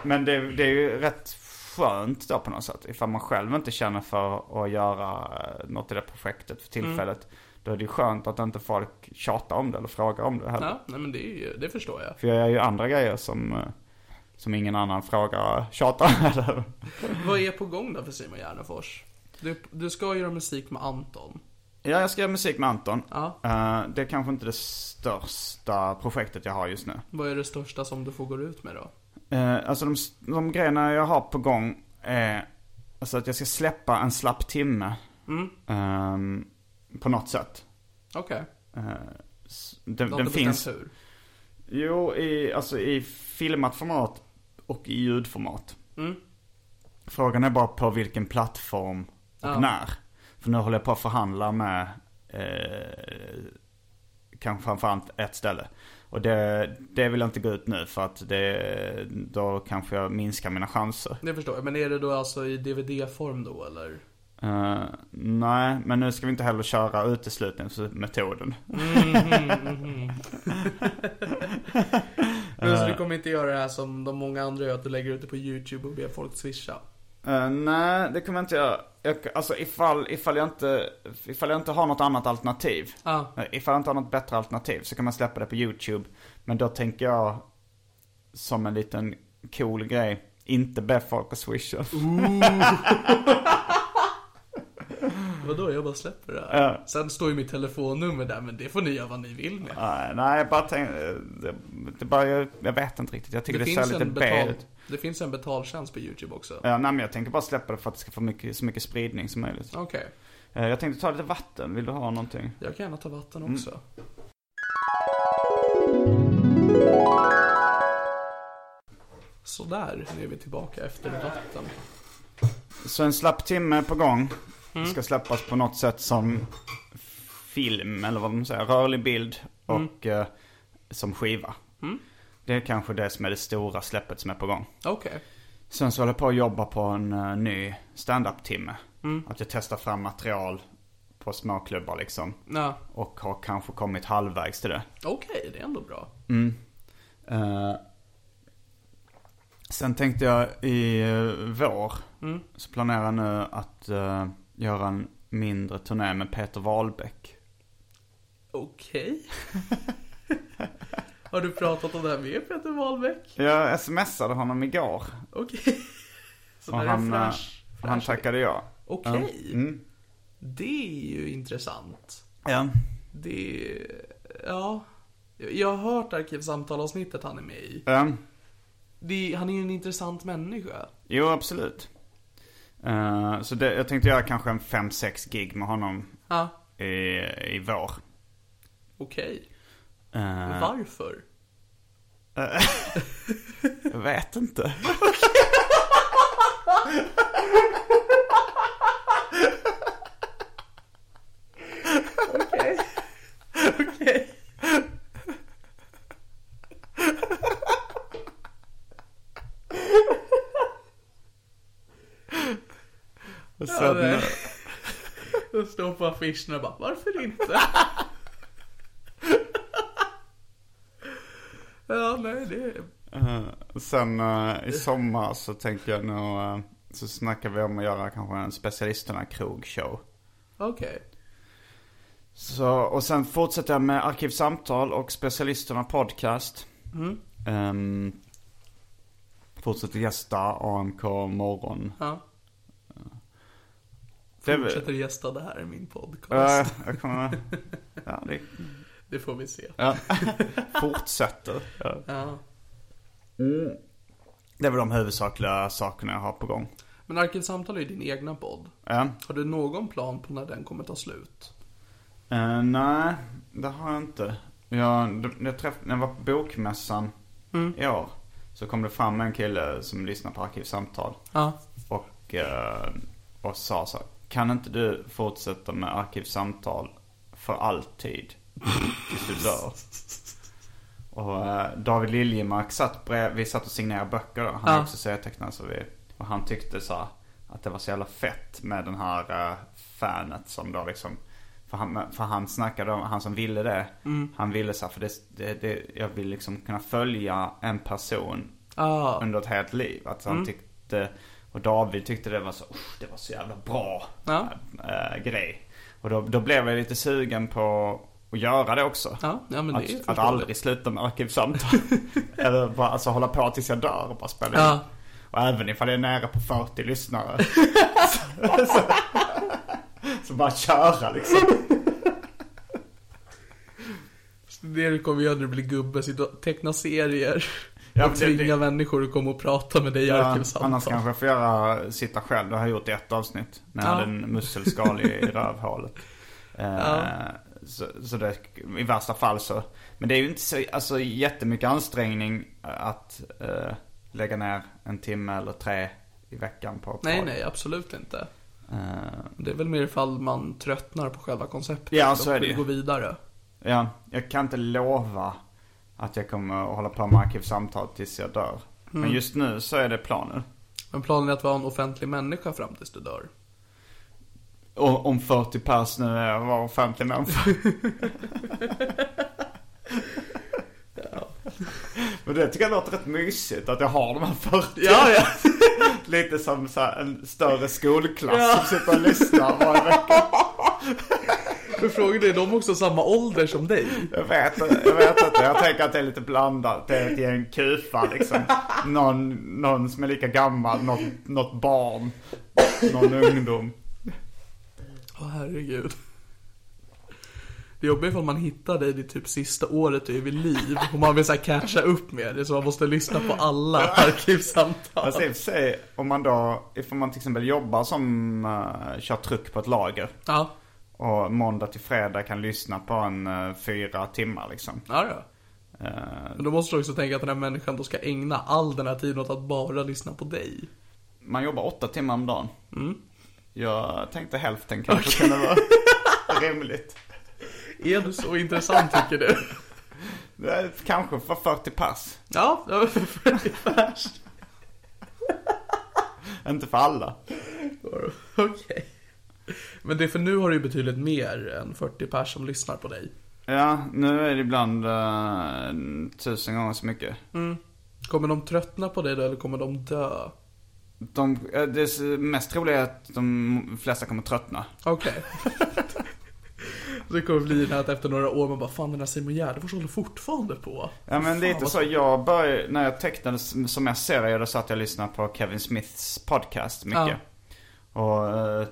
Speaker 4: men det, det är ju rätt skönt då på något sätt. Ifall man själv inte känner för att göra eh, något i det projektet för tillfället. Då är det ju skönt att inte folk tjatar om det eller frågar om det heller.
Speaker 3: Ja, nej men det, är ju, det förstår jag.
Speaker 4: För jag gör ju andra grejer som, eh, som ingen annan frågar, tjatar om heller.
Speaker 3: Vad är på gång då för Simon Gärdenfors? Du, du ska göra musik med Anton.
Speaker 4: Ja, jag ska göra musik med Anton.
Speaker 3: Ja.
Speaker 4: Eh, det är kanske inte det största projektet jag har just nu.
Speaker 3: Vad är det största som du får gå ut med då?
Speaker 4: Eh, alltså de, de grejerna jag har på gång är alltså att jag ska släppa en slapp timme.
Speaker 3: Mm.
Speaker 4: Ehm, på något sätt.
Speaker 3: Okej.
Speaker 4: Eh, s- den
Speaker 3: Du har
Speaker 4: den
Speaker 3: inte bestämt
Speaker 4: finns.
Speaker 3: hur?
Speaker 4: Jo, i, alltså i filmat format och i ljudformat. Frågan är bara på vilken plattform och
Speaker 3: Ja.
Speaker 4: när. För nu håller jag på att förhandla med eh, kanske framförallt ett ställe. Och det, det vill jag inte gå ut nu för att det, då kanske jag minskar mina chanser.
Speaker 3: Det förstår jag. Men är det då alltså i DVD-form då eller?
Speaker 4: Eh, nej, men nu ska vi inte heller köra uteslutningsmetoden.
Speaker 3: Men
Speaker 4: Eh.
Speaker 3: så du kommer inte göra det här som de många andra gör, att du lägger ut det på YouTube och ber folk swisha?
Speaker 4: Eh, nej, det kommer jag inte göra. Jag, alltså ifall, ifall, jag inte, ifall jag inte har något annat alternativ.
Speaker 3: Ja.
Speaker 4: Eh, Ifall jag inte har något bättre alternativ så kan man släppa det på YouTube. Men då tänker jag som en liten cool grej. Inte be folk att swisha.
Speaker 3: Vadå, jag bara släpper det här. Sen står ju mitt telefonnummer där, men det får ni göra vad ni vill med.
Speaker 4: Nej, nej, jag bara tänker, eh, det, det bara, jag, jag vet inte riktigt. Jag tycker det, ser lite B ut.
Speaker 3: det finns en betaltjänst på YouTube också.
Speaker 4: Ja, nej men jag tänker bara släppa det för att det ska få mycket, så mycket spridning som möjligt.
Speaker 3: Okej,
Speaker 4: Eh, Jag tänkte ta lite vatten, vill du ha någonting?
Speaker 3: jag kan gärna ta vatten
Speaker 4: Mm.
Speaker 3: också. Sådär, nu är vi tillbaka efter vatten.
Speaker 4: Så en slapp timme på gång. Ska släppas på något sätt som film eller vad man säger, rörlig bild och eh, som skiva. Det är kanske det som är det stora släppet som är på gång.
Speaker 3: Okej,
Speaker 4: Sen så håller jag på att jobba på en eh, ny stand-up timme. Att jag testar fram material på småklubbar liksom.
Speaker 3: ja.
Speaker 4: Och har kanske kommit halvvägs till det.
Speaker 3: Okej, det är ändå bra.
Speaker 4: Eh, sen tänkte jag i eh, vår så planerar jag nu att eh, göra en mindre turné med Peter Wahlbeck.
Speaker 3: Okej. [LAUGHS] Har du pratat om det här med Peter Wahlbeck?
Speaker 4: Jag smsade honom igår
Speaker 3: Okej. [LAUGHS] Så
Speaker 4: och
Speaker 3: där är
Speaker 4: han, eh,
Speaker 3: fräsch.
Speaker 4: och han tackade ja.
Speaker 3: Okej.
Speaker 4: Mm.
Speaker 3: Det är ju intressant.
Speaker 4: Ja.
Speaker 3: Det är... Ja. Jag har hört Arkivsamtal-avsnittet han är med i.
Speaker 4: Ja.
Speaker 3: Det är, han är ju en intressant människa.
Speaker 4: Jo, absolut. Eh, så det, jag tänkte göra kanske en 5-6 gig med honom
Speaker 3: Ja,
Speaker 4: i, i vår.
Speaker 3: okej.
Speaker 4: Eh,
Speaker 3: Varför?
Speaker 4: jag vet inte.
Speaker 3: Ja,
Speaker 4: Och sen,
Speaker 3: det- Det står på affischen och bara, varför
Speaker 4: [LAUGHS]
Speaker 3: inte? ja, nej, det är...
Speaker 4: eh, sen eh, i sommar så tänker jag nog, eh, så snackar vi om att göra kanske en specialisterna krogshow.
Speaker 3: Okej.
Speaker 4: Så, och sen fortsätter jag med Arkivsamtal och Specialisterna Podcast. Ehm, fortsätter gästa AMK morgon.
Speaker 3: Ja.
Speaker 4: Det är väl-
Speaker 3: Fortsätter gästa det här i min podcast.
Speaker 4: Eh, jag kommer... Ja, det...
Speaker 3: Det får vi se.
Speaker 4: Ja. Fortsätter. Ja.
Speaker 3: Ja.
Speaker 4: Det är väl de huvudsakliga sakerna jag har på gång. Ehm,
Speaker 3: Men Arkivsamtal är ju din egna podd.
Speaker 4: Ja.
Speaker 3: Har du någon plan på när den kommer ta slut?
Speaker 4: Eh, nej, det har jag inte. Jag, jag träff, när jag var på bokmässan i år så kom det fram en kille som lyssnar på Arkivsamtal.
Speaker 3: Ja.
Speaker 4: Och, eh, och sa så här, Kan inte du fortsätta med Arkivsamtal för alltid? Tills du dör. Och eh, David Liljemark satt bredvid, vi satt och signerade böcker då. Han är
Speaker 3: Ja.
Speaker 4: också serietecknare så vi, och han tyckte så här, att det var så jävla fett med den här eh, fanet som då liksom för han, för han snackade om, han som ville det,
Speaker 3: Mm.
Speaker 4: han ville så här, för det, det, det, jag vill liksom kunna följa en person
Speaker 3: Ah.
Speaker 4: under ett helt liv. Att han
Speaker 3: Mm.
Speaker 4: tyckte, och David tyckte det var så, "Usch, det var så jävla bra
Speaker 3: Ja.
Speaker 4: äh, grej. Och då, då blev jag lite sugen på att göra det också.
Speaker 3: Ja, ja, men det är
Speaker 4: att, att
Speaker 3: förståeligt.
Speaker 4: aldrig sluta
Speaker 3: [LAUGHS]
Speaker 4: med arkivsamtal. Eller bara, alltså hålla på tills jag dör och bara spela
Speaker 3: Ja.
Speaker 4: in. Och även ifall jag är nära på 40 lyssnare.
Speaker 3: [LAUGHS]
Speaker 4: [LAUGHS] så, så, så bara köra liksom.
Speaker 3: Det du kommer göra när du blir gubbe, sitta och teckna serier.
Speaker 4: Ja,
Speaker 3: och
Speaker 4: men det-
Speaker 3: tvinga
Speaker 4: det-
Speaker 3: människor att komma och prata med dig i
Speaker 4: Ja,
Speaker 3: Arkivsamtal.
Speaker 4: annars kanske jag får göra, sitta själv. Det har jag gjort i ett avsnitt. När jag
Speaker 3: Ja.
Speaker 4: hade en musselskal i
Speaker 3: [LAUGHS]
Speaker 4: i rövhålet. Eh,
Speaker 3: Ja.
Speaker 4: Så, så det, i värsta fall så. Men det är ju inte så, alltså jättemycket ansträngning att eh, lägga ner en timme eller tre i veckan på ett
Speaker 3: Nej,
Speaker 4: tag.
Speaker 3: nej, absolut inte.
Speaker 4: Eh,
Speaker 3: Det är väl mer ifall man tröttnar på själva konceptet
Speaker 4: Ja, så
Speaker 3: och
Speaker 4: är det
Speaker 3: vill
Speaker 4: ju.
Speaker 3: gå vidare.
Speaker 4: ja, jag kan inte lova att jag kommer att hålla på med arkivsamtal tills jag dör. Men just nu så är det planen.
Speaker 3: Men planen är att vara en offentlig människa fram tills du dör.
Speaker 4: Och om 40 pers nu är var offentlig människa. Men det tycker jag låter rätt mysigt att jag har de här 40.
Speaker 3: Ja, [LAUGHS] ja.
Speaker 4: Lite som så här en större skolklass som sitter och lyssnar varje vecka.
Speaker 3: Men frågan är, är de också samma ålder som dig?
Speaker 4: Jag vet, jag vet inte, jag tänker att det är lite blandat. Det är ett gäng kufar liksom. Någon, någon som är lika gammal, något, något barn, någon ungdom.
Speaker 3: Åh herregud. Det jobbiga är ifall man hittar dig det typ sista året du är vid liv och man vill så här catcha upp med det så man måste lyssna på alla arkivsamtal.
Speaker 4: Alltså i och för sig, om man då, ifall man till exempel jobbar som uh, kör truck på ett lager
Speaker 3: Ja,
Speaker 4: och måndag till fredag kan lyssna på en eh, fyra timmar liksom.
Speaker 3: ja då.
Speaker 4: Eh,
Speaker 3: Men då måste du också tänka att den här människan då ska ägna all den här tiden åt att bara lyssna på dig.
Speaker 4: man jobbar åtta timmar om dagen. Jag tänkte hälften kanske kunde vara [LAUGHS] rimligt.
Speaker 3: Är du så intressant tycker du?
Speaker 4: Det är kanske för 40 pass.
Speaker 3: Ja, det var ungefär.
Speaker 4: Inte för alla.
Speaker 3: Okej. Men det är för nu har du ju betydligt mer än 40 pers som lyssnar på dig.
Speaker 4: Ja, nu är det ibland eh, tusen gånger så mycket.
Speaker 3: Mm. Kommer de tröttna på dig då eller kommer de dö?
Speaker 4: De, eh, det mest troliga är att de flesta kommer tröttna.
Speaker 3: Okej. det kommer bli den här att efter några år man bara fan den här Simon Gärdenfors håller fortfarande på.
Speaker 4: Ja men lite
Speaker 3: vad-
Speaker 4: så, jag började, när jag tecknade s- som jag serier då satt jag och lyssnade på Kevin Smiths podcast mycket. Och eh,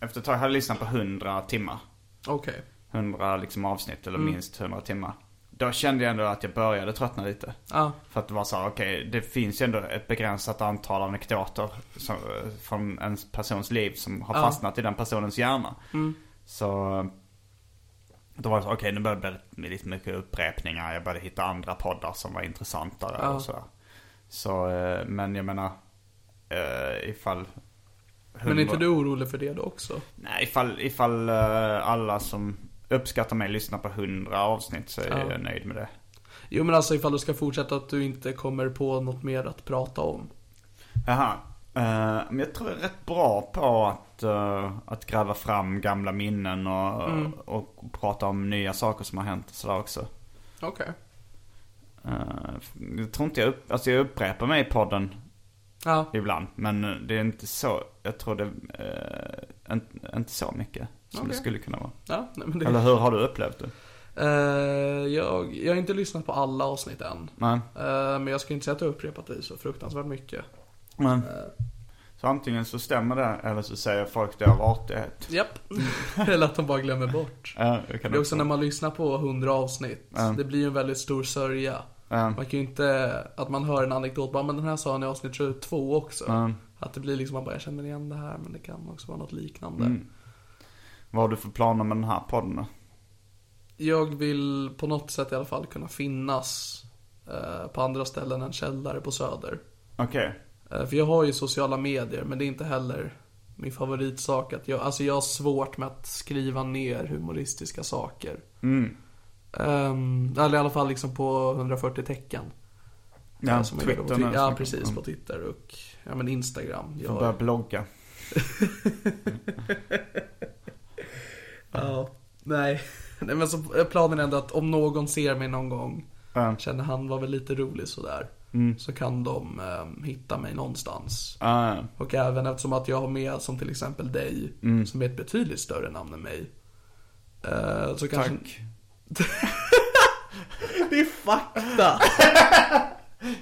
Speaker 4: efter ett tag hade jag lyssnat på 100 timmar.
Speaker 3: Okej.
Speaker 4: 100 liksom avsnitt
Speaker 3: Mm.
Speaker 4: eller minst 100 timmar. Då kände jag ändå att jag började tröttna lite.
Speaker 3: Ja.
Speaker 4: För att det var så här, okej det finns ju ändå ett begränsat antal anekdoter som, från en persons liv som har fastnat i den personens hjärna.
Speaker 3: Mm.
Speaker 4: Så då var det så, okej nu började det bli lite mycket upprepningar. Jag började hitta andra poddar som var intressantare och sådär. Så, eh, men jag menar, eh, eh, ifall...
Speaker 3: Men är inte du orolig för det då också?
Speaker 4: Nej, ifall, ifall eh, alla som uppskattar mig lyssnar på 100 avsnitt så är
Speaker 3: Ja.
Speaker 4: jag nöjd med det.
Speaker 3: Jo men alltså ifall du ska fortsätta att du inte kommer på något mer att prata om.
Speaker 4: Jaha. Eh, men jag tror jag är rätt bra på att, eh, att gräva fram gamla minnen och,
Speaker 3: Mm.
Speaker 4: och prata om nya saker som har hänt och sådär också.
Speaker 3: Okej.
Speaker 4: Eh, jag tror inte jag, upp, alltså jag upprepar mig i podden
Speaker 3: Ja,
Speaker 4: ibland. Men eh, det är inte så, jag tror det, eh, inte, inte så mycket som det
Speaker 3: Okej.
Speaker 4: skulle kunna vara.
Speaker 3: ja nej, men det...
Speaker 4: Eller hur har du upplevt det?
Speaker 3: Eh, jag, jag har inte lyssnat på alla avsnitt än.
Speaker 4: Nej.
Speaker 3: Eh, men jag skulle inte säga att jag har upprepat det så fruktansvärt mycket.
Speaker 4: Men, Eh, så antingen så stämmer det eller så säger folk det av artighet.
Speaker 3: Japp. Eller att de bara glömmer bort.
Speaker 4: Ja, jag kan
Speaker 3: Det är också när man lyssnar på 100 avsnitt.
Speaker 4: Ja.
Speaker 3: Det blir ju en väldigt stor sörja.
Speaker 4: Ja.
Speaker 3: Man kan ju inte, att man hör en anekdot, bara men den här sa han i avsnitt 2 också.
Speaker 4: Ja.
Speaker 3: Att det blir liksom, man bara jag känner igen det här men det kan också vara något liknande.
Speaker 4: Mm. Vad har du för planer med den här podden då?
Speaker 3: Jag vill på något sätt i alla fall kunna finnas eh, på andra ställen än källare på Söder.
Speaker 4: Okej.
Speaker 3: Eh, För jag har ju sociala medier, men det är inte heller min favoritsak. Att jag, alltså jag har svårt med att skriva ner humoristiska saker.
Speaker 4: Mm.
Speaker 3: Ehm, eller i alla fall liksom på 140 tecken.
Speaker 4: Ja,
Speaker 3: Eh, som jag gör på
Speaker 4: Twitter
Speaker 3: Twi-
Speaker 4: nu,
Speaker 3: Ja,
Speaker 4: som-
Speaker 3: precis.
Speaker 4: mm.
Speaker 3: På Twitter och ja, men Instagram.
Speaker 4: Får
Speaker 3: Jag,
Speaker 4: börja blogga.
Speaker 3: ja, nej. [LAUGHS] nej, men så är planen ändå att om någon ser mig någon gång,
Speaker 4: Ja. Mm.
Speaker 3: känner han var väl lite rolig sådär. Så kan de ehm, hitta mig någonstans.
Speaker 4: Ja, ja.
Speaker 3: Och även eftersom att jag har med som till exempel dig,
Speaker 4: Mm.
Speaker 3: som är ett betydligt större namn än mig. Eh, så kanske...
Speaker 4: Tack.
Speaker 3: Det är fakta!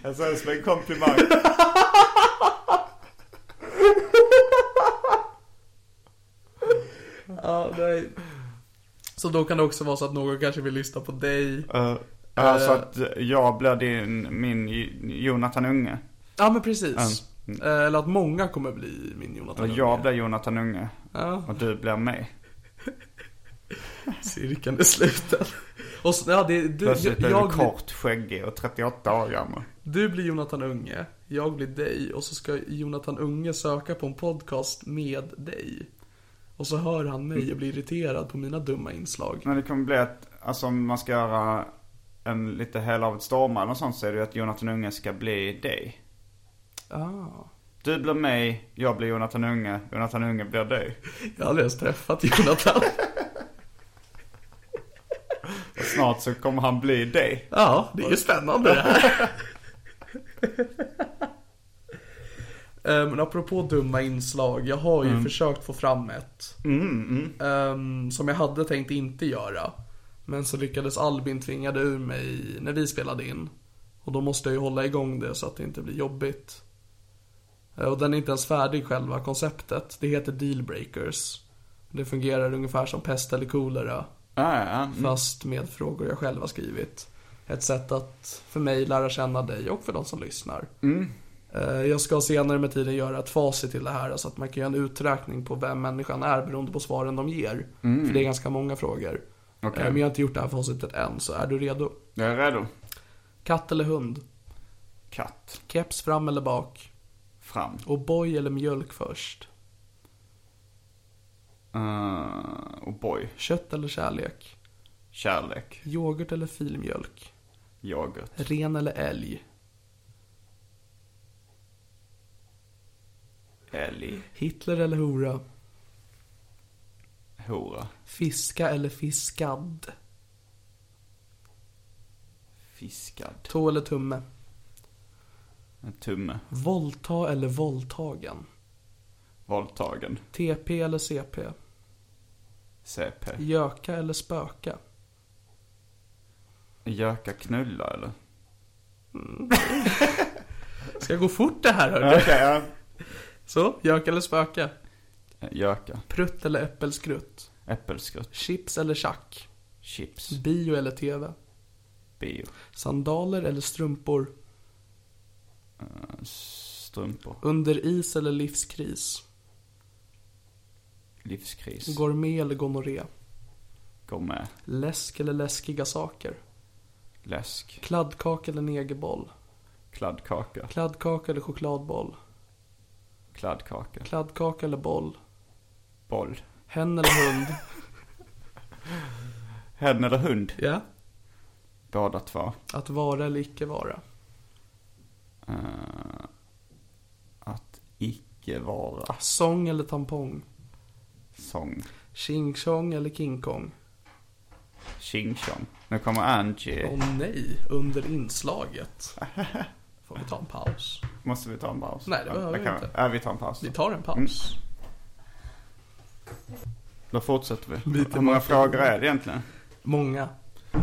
Speaker 4: Jag säger det som
Speaker 3: [LAUGHS]
Speaker 4: en komplimang.
Speaker 3: ja, nej. Så då kan det också vara så att någon kanske vill lyssna på dig.
Speaker 4: Eh, alltså att jag blir din, min J- Jonathan Unge.
Speaker 3: Ja, men precis. Eh, eller att många kommer bli min Jonathan
Speaker 4: Och
Speaker 3: Unge.
Speaker 4: jag blir Jonathan Unge.
Speaker 3: Ja.
Speaker 4: Och du blir mig.
Speaker 3: Cirkeln är sluten. Och så, ja, det, är- du,
Speaker 4: Plötsligt
Speaker 3: jag,
Speaker 4: blir
Speaker 3: jag,
Speaker 4: du
Speaker 3: blir,
Speaker 4: kort, skäggig och 38 år gammal.
Speaker 3: du blir Jonathan Unge, jag blir dig och så ska Jonathan Unge söka på en podcast med dig. Och så hör han mig och blir irriterad på mina dumma inslag.
Speaker 4: Men det kommer bli att, alltså om man ska göra en lite hela av ett stormar eller sånt så är det ju att Jonathan Unge ska bli dig.
Speaker 3: Ah.
Speaker 4: Du blir mig, jag blir Jonathan Unge, Jonathan Unge blir dig.
Speaker 3: Jag har aldrig ens träffat
Speaker 4: [LAUGHS]
Speaker 3: Jonathan.
Speaker 4: Och snart så kommer han bli dig.
Speaker 3: Ja, det är ju spännande det
Speaker 4: [LAUGHS]
Speaker 3: här. Eh, Men apropå dumma inslag, jag har ju
Speaker 4: Mm.
Speaker 3: försökt få fram ett. Ehm, som jag hade tänkt inte göra. Men så lyckades Albin tvinga det ur mig när vi spelade in. Och då måste jag ju hålla igång det så att det inte blir jobbigt. Eh, Och den är inte ens färdig själva konceptet. Det heter Dealbreakers. Det fungerar ungefär som pest eller kolera
Speaker 4: Ja, ja, ja. Mm.
Speaker 3: fast med frågor jag själv har skrivit. Ett sätt att för mig lära känna dig och för de som lyssnar.
Speaker 4: Mm.
Speaker 3: Eh, Jag ska senare med tiden göra ett facit till det här så att man kan göra en uträkning på vem människan är beroende på svaren de ger. För det är ganska många frågor.
Speaker 4: Mm. Okej.
Speaker 3: Eh, Men jag har inte gjort det här facitet än, så är du redo?
Speaker 4: Jag är redo.
Speaker 3: Katt eller hund?
Speaker 4: Katt.
Speaker 3: Keps fram eller bak?
Speaker 4: Fram.
Speaker 3: O'boy eller mjölk först?
Speaker 4: Uh, och boy.
Speaker 3: Kött eller kärlek?
Speaker 4: Kärlek.
Speaker 3: Yoghurt eller filmjölk?
Speaker 4: Yoghurt.
Speaker 3: Ren eller älg?
Speaker 4: Älg.
Speaker 3: Hitler eller hora?
Speaker 4: Hora.
Speaker 3: Fiska eller fiskad?
Speaker 4: Fiskad.
Speaker 3: Tå eller tumme?
Speaker 4: En tumme.
Speaker 3: Våldta eller våldtagen?
Speaker 4: Våldtagen.
Speaker 3: TP eller CP?
Speaker 4: CP.
Speaker 3: Göka eller spöka?
Speaker 4: Göka knulla eller?
Speaker 3: Ska gå fort det här hörru.
Speaker 4: Okej,
Speaker 3: Så, göka eller spöka?
Speaker 4: ja. Göka.
Speaker 3: Prutt eller äppelskrutt?
Speaker 4: Äppelskrutt.
Speaker 3: Chips eller tjack?
Speaker 4: Chips.
Speaker 3: Bio eller TV?
Speaker 4: Bio.
Speaker 3: Sandaler eller strumpor?
Speaker 4: Eh, Strumpor.
Speaker 3: Under is eller livskris?
Speaker 4: Livskris. Går,
Speaker 3: Gourmet eller gonorré?
Speaker 4: med.
Speaker 3: Läsk eller läskiga saker?
Speaker 4: Läsk.
Speaker 3: Kladdkaka eller negerboll?
Speaker 4: Kladdkaka.
Speaker 3: Kladdkaka eller chokladboll?
Speaker 4: Kladdkaka.
Speaker 3: Kladdkaka eller boll?
Speaker 4: Boll.
Speaker 3: Hen eller hund?
Speaker 4: Hen eller hund?
Speaker 3: Ja.
Speaker 4: Båda två.
Speaker 3: Att vara eller icke vara?
Speaker 4: Eh, att icke vara
Speaker 3: Sång eller tampong?
Speaker 4: sång.
Speaker 3: Ching Chong eller King Kong?
Speaker 4: Tjing tjong. Nu kommer Angie.
Speaker 3: Åh nej, under [LAUGHS] inslaget. Får vi ta en paus?
Speaker 4: Måste vi ta en paus?
Speaker 3: Nej, det behöver vi
Speaker 4: kan
Speaker 3: inte.
Speaker 4: Ja, vi tar en paus. Mm.
Speaker 3: Vi tar en paus.
Speaker 4: Då fortsätter vi.
Speaker 3: Vi tar
Speaker 4: Hur många
Speaker 3: en-
Speaker 4: frågor är det egentligen?
Speaker 3: Mm. Många.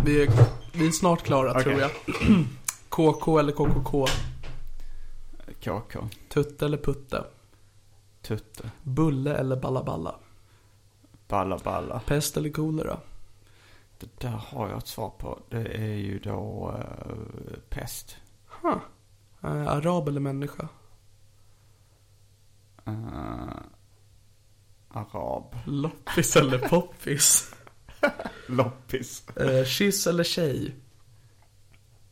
Speaker 3: Vi är, vi är snart klara
Speaker 4: Okej.
Speaker 3: tror jag. [CLEARS THROAT] KK eller KKK?
Speaker 4: KK.
Speaker 3: Tutte eller Putte?
Speaker 4: Tutte.
Speaker 3: Bulle eller Balla-Balla?
Speaker 4: Balla balla.
Speaker 3: Pest eller kolera?
Speaker 4: Det där har jag ett svar på. Det är ju då eh, pest.
Speaker 3: Eh, arab eller människa?
Speaker 4: Eh, arab.
Speaker 3: Loppis eller poppis?
Speaker 4: Loppis.
Speaker 3: [LAUGHS] Eh, kyss eller tjej?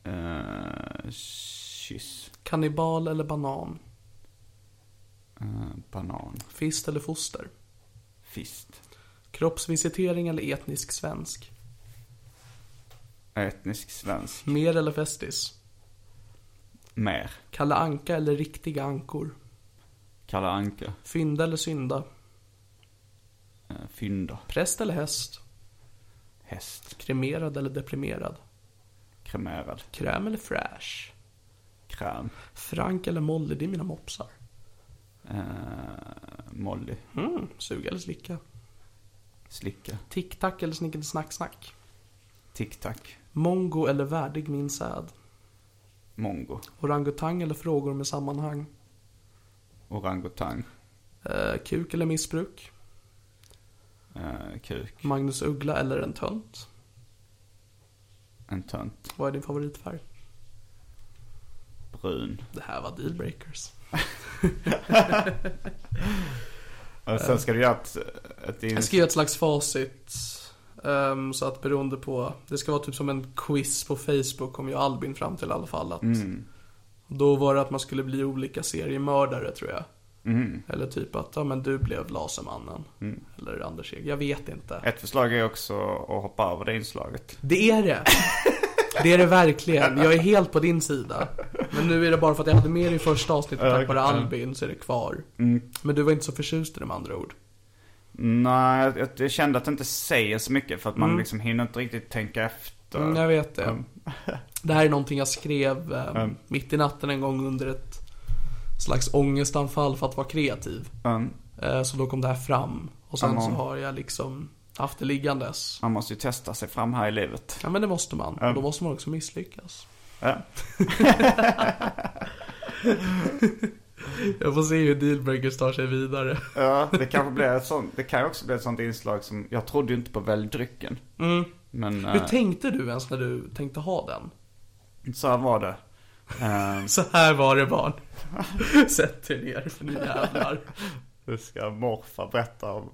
Speaker 4: Uh, kyss.
Speaker 3: Kannibal eller banan?
Speaker 4: Eh, banan.
Speaker 3: Fist eller foster?
Speaker 4: Fist.
Speaker 3: Kroppsvisitering eller etnisk svensk?
Speaker 4: Etnisk svensk.
Speaker 3: Mer eller festis?
Speaker 4: Mer.
Speaker 3: Kalle Anka eller riktiga ankor?
Speaker 4: Kalle Anka.
Speaker 3: Fynda eller synda?
Speaker 4: Uh, fynda.
Speaker 3: Präst eller häst?
Speaker 4: Häst.
Speaker 3: Kremerad eller deprimerad?
Speaker 4: Kremerad.
Speaker 3: Kräm eller fräsch?
Speaker 4: Kräm.
Speaker 3: Frank eller Molly, det är mina mopsar.
Speaker 4: Eh, Molly.
Speaker 3: Mm, suga eller slicka?
Speaker 4: Slicka.
Speaker 3: Tic-tac eller snickelsnack-snack?
Speaker 4: Tic-tac.
Speaker 3: Mongo eller värdig min säd?
Speaker 4: Mongo.
Speaker 3: Orangutang eller frågor med sammanhang?
Speaker 4: Orangutang.
Speaker 3: Eh, kuk eller missbruk?
Speaker 4: Eh, kuk.
Speaker 3: Magnus Uggla eller en tönt?
Speaker 4: En tönt.
Speaker 3: Vad är din favoritfärg?
Speaker 4: Brun.
Speaker 3: Det här var dealbreakers.
Speaker 4: Och sen ska du göra ett... ett
Speaker 3: Jag ska göra ett slags facit. ehm, så att beroende på, det ska vara typ som en quiz på Facebook kom ju Albin fram till i alla fall. Att Då var det att man skulle bli olika seriemördare tror jag. Eller typ att, ja men du blev Lasermannen. Eller Anders Eg, jag vet inte.
Speaker 4: Ett förslag är också att hoppa över det inslaget.
Speaker 3: Det är det! Det är det verkligen, jag är helt på din sida. Men nu är det bara för att jag hade med dig i första avsnittet tack vare Albin så är det kvar. Men du var inte så förtjust i det med andra ord.
Speaker 4: Nej, jag, jag kände att det inte säger så mycket för att man liksom hinner inte riktigt tänka efter.
Speaker 3: Mm, jag vet det. Det här är någonting jag skrev eh,
Speaker 4: Mm.
Speaker 3: mitt i natten en gång under ett slags ångestanfall för att vara kreativ.
Speaker 4: Mm.
Speaker 3: Eh, så då kom det här fram. Och sen
Speaker 4: Mm.
Speaker 3: så har jag liksom haft det liggandes.
Speaker 4: Man måste ju testa sig fram här i livet.
Speaker 3: Ja men det måste man. Och då måste man också misslyckas.
Speaker 4: Mm. Ja.
Speaker 3: [LAUGHS] Jag får se hur dealbreakers tar sig vidare.
Speaker 4: Ja, det kanske blir ett sånt, det kan ju också bli ett sånt inslag som, jag trodde ju inte på väldrycken. Men
Speaker 3: Hur
Speaker 4: eh,
Speaker 3: tänkte du ens när du tänkte ha den?
Speaker 4: så här var det. Eh,
Speaker 3: Så här var det
Speaker 4: [LAUGHS]
Speaker 3: barn. Sätt er ner för ni jävlar.
Speaker 4: Nu ska morfar berätta om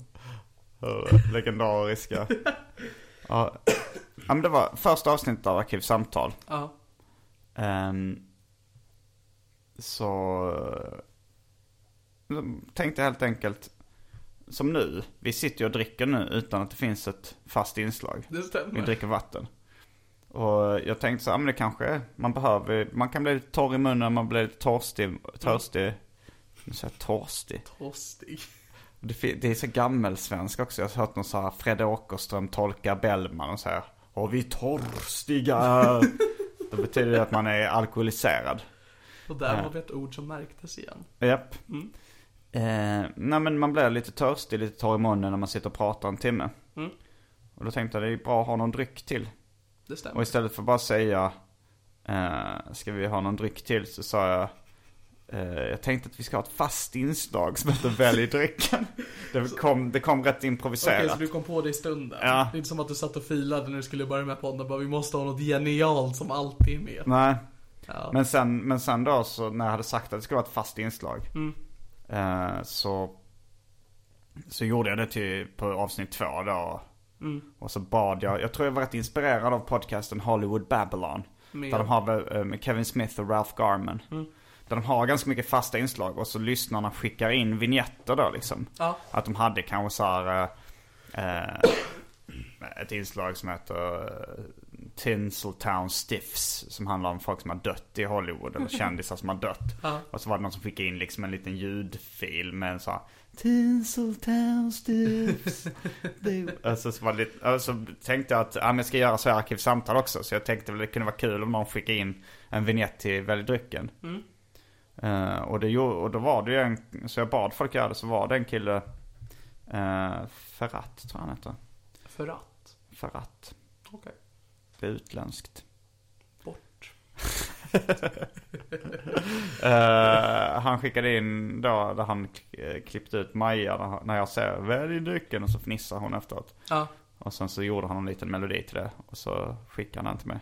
Speaker 4: hur legendariska... Ja, ja men det var första avsnittet av Arkivsamtal.
Speaker 3: Ja.
Speaker 4: Ehm, så eh, tänkte jag helt enkelt, som nu, vi sitter ju och dricker nu utan att det finns ett fast inslag.
Speaker 3: Det stämmer.
Speaker 4: Vi dricker vatten. Och jag tänkte så här, "Ja, men det kanske man behöver, man kan bli lite torr i munnen, man blir lite
Speaker 3: Mm.
Speaker 4: törstig, törstig. Nu säger jag törstig.
Speaker 3: Tostig.
Speaker 4: Det, fin- det är så gammelsvensk också. Jag har hört någon så här Fred Åkerström tolka Bellman och så här. Har vi torstiga?
Speaker 3: [LAUGHS]
Speaker 4: Då betyder det att man är alkoholiserad.
Speaker 3: Och där var det ett ord som märktes igen.
Speaker 4: Japp.
Speaker 3: Mm.
Speaker 4: Eh, nej men man blir lite törstig, lite torr i munnen när man sitter och pratar en timme.
Speaker 3: Mm.
Speaker 4: Och då tänkte jag det är bra att ha någon dryck till.
Speaker 3: Det stämmer.
Speaker 4: Och istället för att bara säga eh, Ska vi ha någon dryck till? Så sa jag eh, Jag tänkte att vi ska ha ett fast inslag som heter
Speaker 3: [LAUGHS]
Speaker 4: Välj drycken. Det kom, det kom rätt improviserat.
Speaker 3: Okej, så du kom på det i stunden?
Speaker 4: Ja.
Speaker 3: Det är inte som att du satt och filade när du skulle börja med podden bara vi måste ha något genialt som alltid är med.
Speaker 4: Nej.
Speaker 3: Ja.
Speaker 4: Men, sen, men sen då så när jag hade sagt att det skulle vara ett fast inslag.
Speaker 3: Mm.
Speaker 4: Eh, så, så gjorde jag det till, på avsnitt två då.
Speaker 3: Mm.
Speaker 4: Och så bad jag, jag tror jag var rätt inspirerad av podcasten Hollywood Babylon.
Speaker 3: Med- Mm.
Speaker 4: Där de har eh, med Kevin Smith och Ralph Garman. Där de har ganska mycket fasta inslag och så lyssnarna skickar in vignetter då liksom.
Speaker 3: Ja.
Speaker 4: Att de hade kanske så här, eh, eh, ett inslag som heter eh, Tinseltown Stiffs. Som handlar om folk som har dött i Hollywood eller kändisar som har dött. Och så var det någon som skickade in liksom en liten ljudfil med en så här Tinseltown Stiffs. Det- och så, så, var det lite, och så tänkte jag att ja, men jag ska göra så här arkivsamtal också. Så jag tänkte väl det kunde vara kul om någon skickade in en vignett till Välj drycken. Eh, och, det, gjorde- och då var det ju en, så jag bad folk göra det, så var det en kille, uh, Ferrat tror jag han heter.
Speaker 3: För att.
Speaker 4: Ferrat.
Speaker 3: Okej.
Speaker 4: Det är utländskt.
Speaker 3: Bort.
Speaker 4: Eh, han skickade in då, där han eh, klippte ut Maja, där han- när jag säger välj drycken och så fnissar hon efteråt.
Speaker 3: Ja.
Speaker 4: Och sen så gjorde han en liten melodi till det och så skickade han den till mig.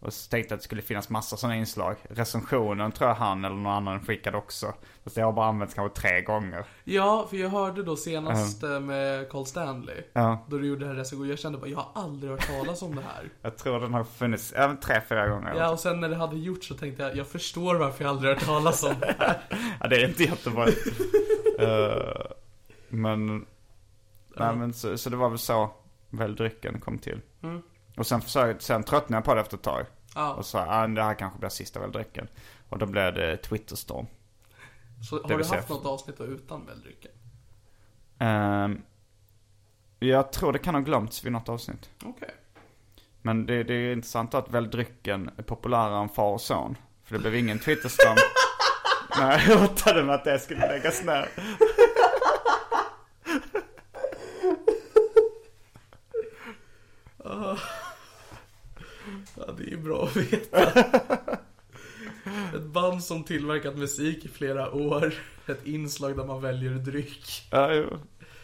Speaker 4: Och så tänkte jag att det skulle finnas massa sådana inslag. Recensionen tror jag han eller någon annan skickade också. Fast jag har bara använt kanske tre gånger.
Speaker 3: Ja, för jag hörde då senast eh, med Carl Stanley.
Speaker 4: Ja.
Speaker 3: Då du gjorde den här recensionen. Jag kände bara, jag har aldrig hört talas om det här.
Speaker 4: Jag tror den har funnits, även tre, fyra gånger.
Speaker 3: Ja, och sen när det hade gjorts så tänkte jag, jag förstår varför jag aldrig hört talas om
Speaker 4: [LAUGHS]
Speaker 3: det här.
Speaker 4: Ja, det är inte jättebra. Eh, men, nej, men så, så det var väl så väl drycken kom till. Och sen, försökte, sen tröttnade jag på det efter ett tag.
Speaker 3: Mm. Ja.
Speaker 4: Och sa, ah, det här kanske blir sista väl drycken. Och då blev det Twitterstorm.
Speaker 3: Så
Speaker 4: Det
Speaker 3: har
Speaker 4: vill
Speaker 3: du
Speaker 4: säga-
Speaker 3: haft något avsnitt då utan väldrycken?
Speaker 4: Ehm, jag tror det kan ha glömts vid något avsnitt.
Speaker 3: Okej.
Speaker 4: Men det, det är intressant att väl drycken är populärare än far och son. För det blev
Speaker 3: [LAUGHS]
Speaker 4: ingen Twitterstorm. nej, jag hotade med att det skulle läggas ner.
Speaker 3: Ja, det är ju bra att
Speaker 4: [LAUGHS]
Speaker 3: veta. Ett band som tillverkat musik i flera år. Ett inslag där man väljer dryck.
Speaker 4: Ja, jo.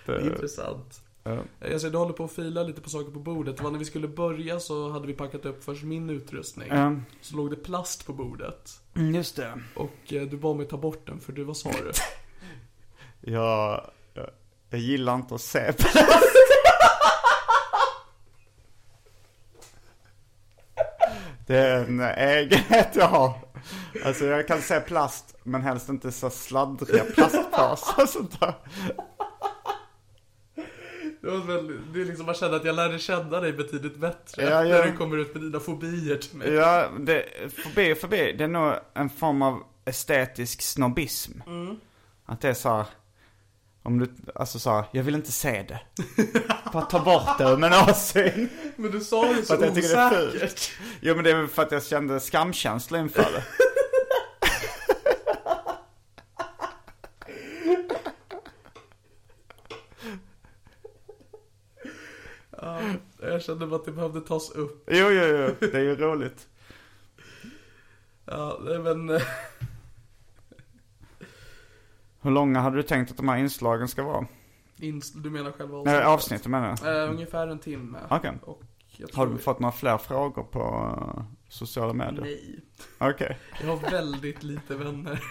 Speaker 3: Det är
Speaker 4: Det,
Speaker 3: intressant.
Speaker 4: Eh,
Speaker 3: Eh, alltså,
Speaker 4: ja.
Speaker 3: Jag ser du håller på att fila lite på saker på bordet. Det var när vi skulle börja så hade vi packat upp först min utrustning.
Speaker 4: Ehm,
Speaker 3: Så låg det plast på bordet.
Speaker 4: Mm, Just det.
Speaker 3: Och eh, du bad mig ta bort den för du, vad sa
Speaker 4: [LAUGHS]
Speaker 3: du?
Speaker 4: Jag, jag, jag gillar inte att se på Det är en egenhet jag har. Alltså jag kan se plast, men helst inte så sladdriga plastpåsar och sånt där.
Speaker 3: Det, var väl, det är liksom, man kände att jag lärde känna dig betydligt bättre.
Speaker 4: Ja, ja.
Speaker 3: När du kommer ut med dina fobier till mig.
Speaker 4: Ja, det, förbi, förbi, det är nog en form av estetisk snobbism. Att det är så här, om du, alltså så här, jag vill inte se det. Bara ta bort det ur min åsyn.
Speaker 3: Men du sa det så
Speaker 4: Att jag tycker det är fult.
Speaker 3: osäkert.
Speaker 4: Jo men det är väl för att jag kände skamkänsla inför det.
Speaker 3: Jag kände bara att det behövde tas upp.
Speaker 4: Jo, jo, jo, det är ju roligt.
Speaker 3: Ja, nej, men... eh,
Speaker 4: Hur långa hade du tänkt att de här inslagen ska vara?
Speaker 3: ins- Du menar själva
Speaker 4: Nej, avsnitten menar jag.
Speaker 3: Eh, ungefär en timme.
Speaker 4: Okej.
Speaker 3: Och jag
Speaker 4: Har
Speaker 3: tror-
Speaker 4: du fått några fler frågor på eh, sociala medier?
Speaker 3: Nej.
Speaker 4: Okej.
Speaker 3: Jag har väldigt lite
Speaker 4: [LAUGHS]
Speaker 3: vänner.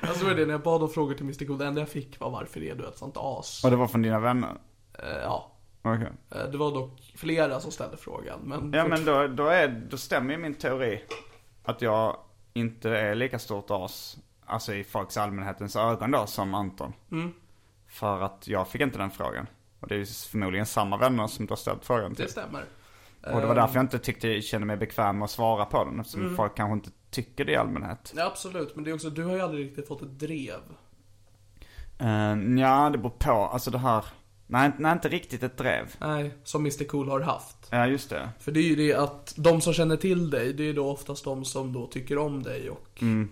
Speaker 3: Alltså det var det, när jag bad om frågor till Mr. Cool, det enda jag fick var varför är du ett sånt as?
Speaker 4: Och det var från dina vänner?
Speaker 3: Eh, ja.
Speaker 4: Okej.
Speaker 3: Eh, Det var dock flera som ställde frågan, men...
Speaker 4: Ja men då, då, är, då stämmer ju min teori. Att jag inte är lika stort as, alltså i folks allmänhetens ögon då, som Anton.
Speaker 3: Mm.
Speaker 4: För att jag fick inte den frågan. Och det är ju förmodligen samma vänner som du har ställt frågan till.
Speaker 3: Det stämmer.
Speaker 4: Och
Speaker 3: Ehm.
Speaker 4: det var därför jag inte tyckte, kände mig bekväm att svara på den. Eftersom
Speaker 3: Mm.
Speaker 4: folk kanske inte tycker det i allmänhet.
Speaker 3: Ja, absolut, men det är också, du har ju aldrig riktigt fått ett drev.
Speaker 4: Uh, ja, det beror på. Alltså det här. Nej, inte- nej inte riktigt ett drev.
Speaker 3: Nej, som Mr Cool har haft.
Speaker 4: Ja, just det.
Speaker 3: För det är ju det att de som känner till dig, det är då oftast de som då tycker om dig och ehm,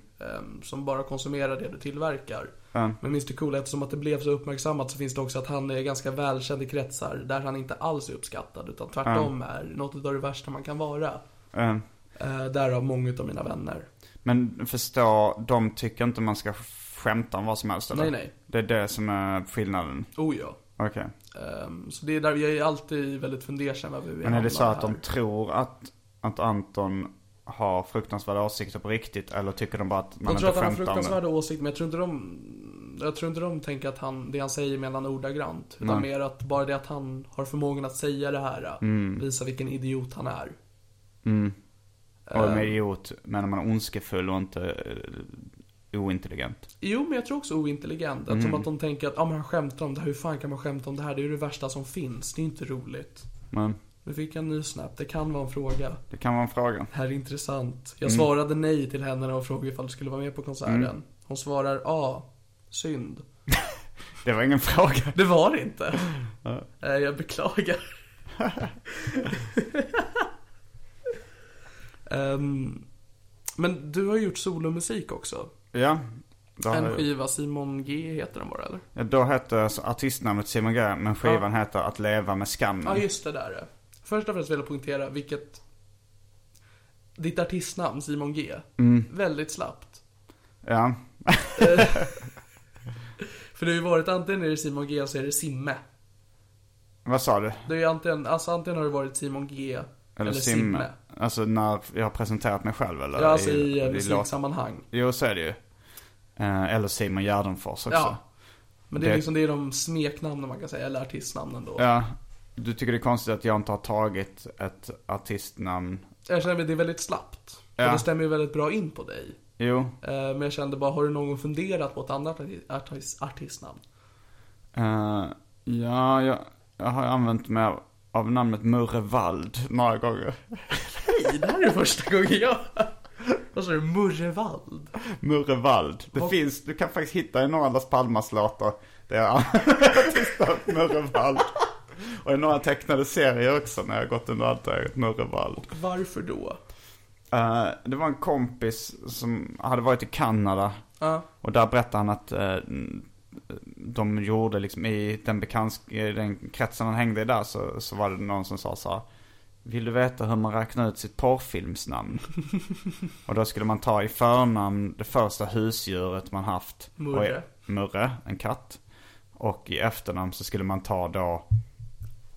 Speaker 3: som bara konsumerar det du tillverkar.
Speaker 4: Mm. Ja.
Speaker 3: Men Mr Cool, eftersom att det blev så uppmärksammat så finns det också att han är ganska välkänd i kretsar där han inte alls är uppskattad utan tvärtom är något av det värsta man kan vara.
Speaker 4: Eh,
Speaker 3: Eh, därav många av mina vänner.
Speaker 4: men förstå, de tycker inte man ska skämta om vad som helst eller?
Speaker 3: Nej, nej.
Speaker 4: Det är det som är skillnaden.
Speaker 3: Oh ja.
Speaker 4: Okej.
Speaker 3: Ehm, så det är där, jag är alltid väldigt fundersam över hur vi
Speaker 4: Men är
Speaker 3: hamnar
Speaker 4: det så att de
Speaker 3: här.
Speaker 4: tror att, att Anton har fruktansvärda åsikter på riktigt? Eller tycker de bara att man
Speaker 3: De tror
Speaker 4: inte
Speaker 3: att han har
Speaker 4: skämtar om det?
Speaker 3: fruktansvärda åsikter, men jag tror inte de... Jag tror inte de tänker att han, det han säger menar han ordagrant. Utan
Speaker 4: Nej.
Speaker 3: mer att bara det att äh,
Speaker 4: Mm.
Speaker 3: han har förmågan att säga det här visar vilken idiot han är.
Speaker 4: Och med idiot menar man ondskefull och inte eh, ointelligent.
Speaker 3: Jo, men jag tror också ointelligent. Att
Speaker 4: Mm.
Speaker 3: Som att de tänker att, ja men han skämtar om det här, hur fan kan man skämta om det här? Det är ju det värsta som finns, det är ju inte roligt.
Speaker 4: Men
Speaker 3: Nu fick jag en ny snap, det kan vara en fråga.
Speaker 4: det kan vara en fråga.
Speaker 3: Det här är intressant.
Speaker 4: Mm.
Speaker 3: Jag svarade nej till henne när hon frågade ifall du skulle vara med på konserten. Hon svarar ja, synd.
Speaker 4: Det var ingen [LAUGHS] fråga.
Speaker 3: Det var det inte. Eh, Jag beklagar. Ehm, men du har gjort solomusik också.
Speaker 4: Ja. Då, har
Speaker 3: En
Speaker 4: jag-
Speaker 3: skiva, Simon G heter den bara eller?
Speaker 4: ja, då heter alltså artistnamnet Simon G, men skivan heter Att leva med skammen.
Speaker 3: Ja just det där. Först och främst vill jag poängtera vilket Ditt artistnamn Simon G.
Speaker 4: Mm.
Speaker 3: Väldigt slappt.
Speaker 4: Ja.
Speaker 3: För det har ju varit antingen är det Simon G så är det Simme.
Speaker 4: Vad sa du?
Speaker 3: Det är ju antingen, alltså antingen har det varit Simon G eller, Simme.
Speaker 4: Alltså när jag har presenterat mig själv eller?
Speaker 3: Ja, alltså
Speaker 4: i
Speaker 3: i, eh,
Speaker 4: låt-
Speaker 3: musiksammanhang.
Speaker 4: Jo, så är det ju. Eh, Eller Simon Gärdenfors också.
Speaker 3: Ja. Men det är
Speaker 4: Det-
Speaker 3: liksom det är de smeknamnen man kan säga, eller artistnamnen då.
Speaker 4: Ja, du tycker det är konstigt att jag inte har tagit ett artistnamn?
Speaker 3: Jag känner att det är väldigt slappt.
Speaker 4: Ja.
Speaker 3: Och det stämmer ju väldigt bra in på dig.
Speaker 4: Jo,
Speaker 3: Eh, Men jag kände bara, har du någon gång funderat på ett annat arti- artis- artistnamn?
Speaker 4: eh, ja, jag, jag har använt mig av- av namnet Murre Wald några gånger.
Speaker 3: Hej, det här är första gången jag [LAUGHS] Vad sa du? Murrevald?
Speaker 4: Murre Wald. Det
Speaker 3: Vad-
Speaker 4: finns, du kan faktiskt hitta i några Las Palmas låtar där jag [LAUGHS] har artistnamnet Murre Wald. Och i några tecknade serier också när jag gått under allt Murre Wald.
Speaker 3: Varför då?
Speaker 4: Eh, det var en kompis som hade varit i Kanada.
Speaker 3: Ja.
Speaker 4: Och där berättade han att eh, de gjorde liksom i den, bekants- i den kretsen han hängde i där så, så var det någon som sa så här. Vill du veta hur man räknar ut
Speaker 3: [LAUGHS]
Speaker 4: sitt porrfilmsnamn? och då skulle man ta i förnamn det första husdjuret man haft. Och i,
Speaker 3: Murre.
Speaker 4: Murre, en katt. Och i efternamn så skulle man ta då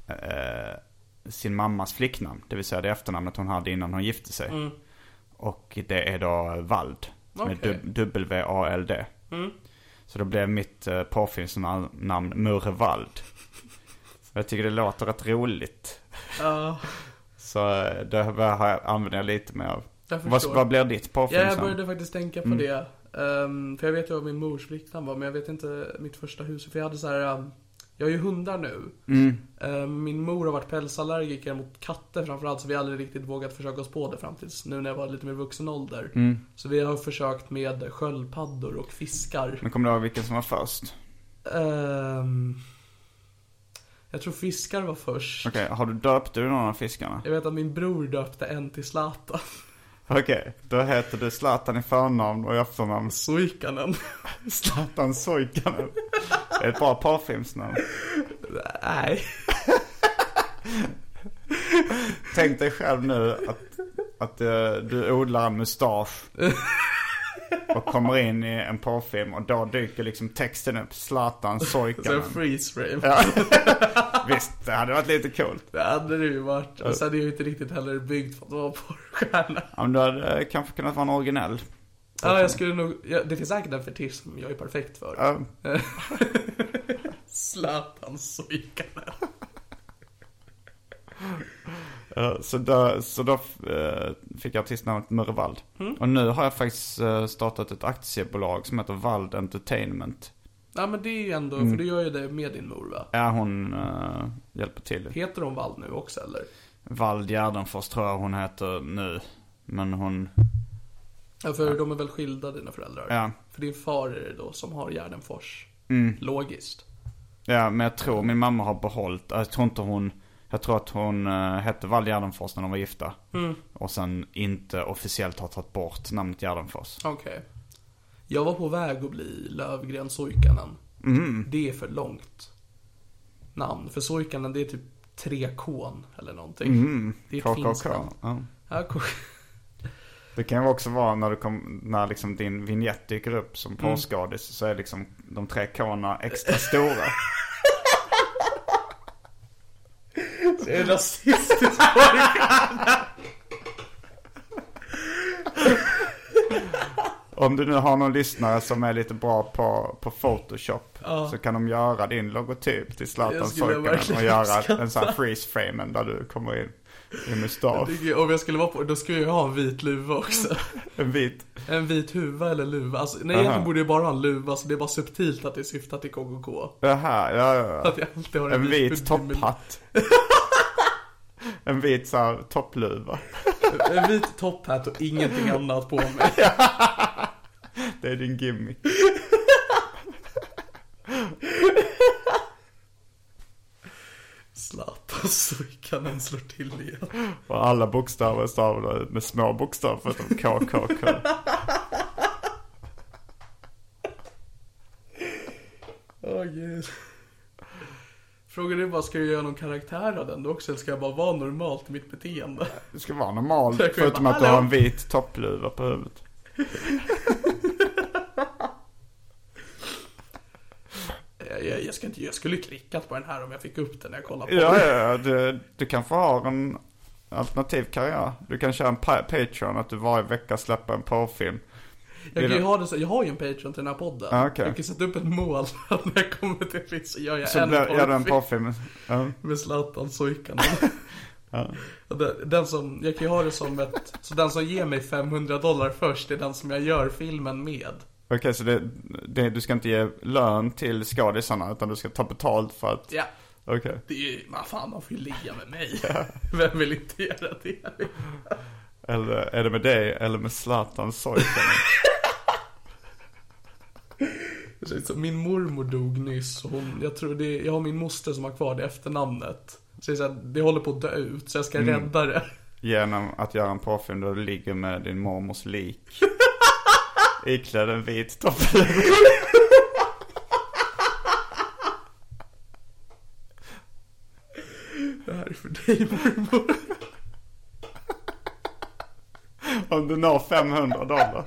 Speaker 4: eh, sin mammas flicknamn. Det vill säga det efternamnet hon hade innan hon gifte sig.
Speaker 3: Mm.
Speaker 4: Och det är då Vald. Med
Speaker 3: Okej. Mm.
Speaker 4: dub- W-A-L-D. Så då blev mitt eh, porrfilmsnamn Murre Wald. Jag tycker det låter rätt roligt.
Speaker 3: Ja,
Speaker 4: Så eh, det här har jag- använder jag lite mer av.
Speaker 3: Jag
Speaker 4: Vad,
Speaker 3: förstår.
Speaker 4: vad blir ditt
Speaker 3: Ja,
Speaker 4: porrfilmsnamn?
Speaker 3: jag började faktiskt tänka på det. Ehm, för jag vet ju vad min mors flicknamn var, men jag vet inte mitt första hus. För jag hade så här. ehm, jag har ju hundar nu. Ehm, min mor har varit pälsallergiker mot katter framförallt, så vi har aldrig riktigt vågat försöka oss på det fram tills nu när jag var lite mer vuxen ålder. Så vi har försökt med sköldpaddor och fiskar.
Speaker 4: Men kommer du ihåg vilken som var först?
Speaker 3: Ehm, jag tror fiskar var först.
Speaker 4: Okej, har du döpt du någon av fiskarna?
Speaker 3: Jag vet att min bror döpte en till Zlatan.
Speaker 4: Okej, då heter du Zlatan i förnamn och i efternamn
Speaker 3: Suikanen.
Speaker 4: Zlatan Soikanen. Det är ett bra porrfilmsnamn.
Speaker 3: Nej.
Speaker 4: Tänk dig själv nu att, att eh, du odlar en mustasch. Och kommer in i en porrfilm och då dyker liksom texten upp. Zlatan
Speaker 3: Så en
Speaker 4: Soikanen.
Speaker 3: freeze frame.
Speaker 4: Visst, det hade varit lite coolt.
Speaker 3: Det hade det ju varit. Och sen är jag ju inte riktigt heller byggd för att vara porrstjärna.
Speaker 4: Ja, men du hade eh, kanske kunnat vara en originell.
Speaker 3: Ja, jag skulle nog... Ja, det finns säkert en fetisch som jag är perfekt för.
Speaker 4: Ja,
Speaker 3: Zlatan Suikanen.
Speaker 4: eh, så då, så då eh, fick jag artistnamnet Murrevald. Och nu har jag faktiskt eh, startat ett aktiebolag som heter Vald Entertainment.
Speaker 3: Ja, men det är ju ändå... För du gör ju det med din mor, va?
Speaker 4: Ja, hon eh, hjälper till.
Speaker 3: Heter hon Wall nu också, eller?
Speaker 4: Vald Gärdenfors tror jag hon heter nu. Men hon,
Speaker 3: Ja, för de är väl skilda, dina föräldrar?
Speaker 4: Ja.
Speaker 3: För din far är det då som har Gärdenfors. Logiskt.
Speaker 4: ja men jag tror min mamma har behållit, jag tror inte hon, jag tror att hon eh, hette Vald Gärdenfors när de var gifta.
Speaker 3: Mm.
Speaker 4: Och sen inte officiellt har tagit bort namnet Gärdenfors.
Speaker 3: Okej. Jag var på väg att bli Lövgren Suikanen. Det är för långt namn. För Suikanen, det är typ 3K eller någonting. Det är ett finskt
Speaker 4: KKK.
Speaker 3: namn.
Speaker 4: Ja.
Speaker 3: Ja, ko-
Speaker 4: Det kan ju också vara när, du kom, när liksom din vignett dyker upp som
Speaker 3: Mm.
Speaker 4: porrskadis så är liksom de tre K'na extra stora.
Speaker 3: Det är rasistiskt
Speaker 4: Om du nu har någon lyssnare som är lite bra på, på Photoshop så kan de göra din logotyp till Zlatan
Speaker 3: Det skulle jag
Speaker 4: Soikanen och
Speaker 3: verkligen
Speaker 4: göra
Speaker 3: uppskatta.
Speaker 4: en sån här freeze framen där du kommer in. i mustasch.
Speaker 3: [LAUGHS] Det- Om jag skulle vara på då skulle jag ha en vit luva också.
Speaker 4: En vit.
Speaker 3: En vit huva eller luva. Alltså, nej, egentligen
Speaker 4: Aha.
Speaker 3: borde jag bara ha en luva, så det är bara subtilt att det syftar till KKK.
Speaker 4: Jaha, ja, ja, ja.
Speaker 3: Att jag alltid har en,
Speaker 4: En vit
Speaker 3: hoodie med-
Speaker 4: topphatt. En vit så här toppluva.
Speaker 3: En vit topphatt och ingenting annat på mig. [LAUGHS]
Speaker 4: Det är din gimmick.
Speaker 3: Zlatan så kan han slå till igen.
Speaker 4: Och alla bokstäver är stavade ut med små bokstäver förutom KKK.
Speaker 3: Åh gud. Frågan är bara, ska jag göra någon karaktär av den då också? Eller ska jag bara vara normalt i mitt beteende?
Speaker 4: Du ska vara normal
Speaker 3: Jag kommer
Speaker 4: förutom
Speaker 3: bara,
Speaker 4: att du har en
Speaker 3: "Hallå?"
Speaker 4: vit toppluva på huvudet.
Speaker 3: Jag, jag, jag, ska inte, jag skulle ju klickat på den här om jag fick upp den när jag kollade på
Speaker 4: Ja,
Speaker 3: den.
Speaker 4: ja, ja. Du, du kan få ha en alternativ karriär. Du kan köra en pa- Patreon, att du varje vecka släpper en porrfilm.
Speaker 3: Jag, kan ju ha det så, jag har ju en Patreon till den här podden.
Speaker 4: Ah, okej.
Speaker 3: Jag kan sätta upp ett mål [LAUGHS] när jag kommer till det så gör jag
Speaker 4: Så
Speaker 3: en
Speaker 4: där gör du en
Speaker 3: porrfilm.
Speaker 4: porrfilm. Ja.
Speaker 3: Med Zlatan
Speaker 4: [LAUGHS]
Speaker 3: Suikanen. Den, den som, jag kan ju ha det som ett, så den som ger mig 500 dollar först är den som jag gör filmen med.
Speaker 4: Okej, så det, det, du ska inte ge lön till skådisarna utan du ska ta betalt för att...
Speaker 3: Ja,
Speaker 4: Okej.
Speaker 3: det är ju, man fan man får ju ligga med mig. [LAUGHS] Vem vill inte göra det?
Speaker 4: Eller är det med dig eller med Zlatan
Speaker 3: [LAUGHS]
Speaker 4: Soykanen?
Speaker 3: Så Min mormor dog nyss, och hon, jag tror det, jag har min moster som har kvar det efternamnet. Så det, är så här, det håller på att dö ut, så jag ska rädda det.
Speaker 4: Genom att göra en porrfilm där du ligger med din
Speaker 3: [LAUGHS]
Speaker 4: mormors lik. Iklädd en vit toppluva.
Speaker 3: Det här är för dig mormor.
Speaker 4: [LAUGHS] Om du når 500 dollar.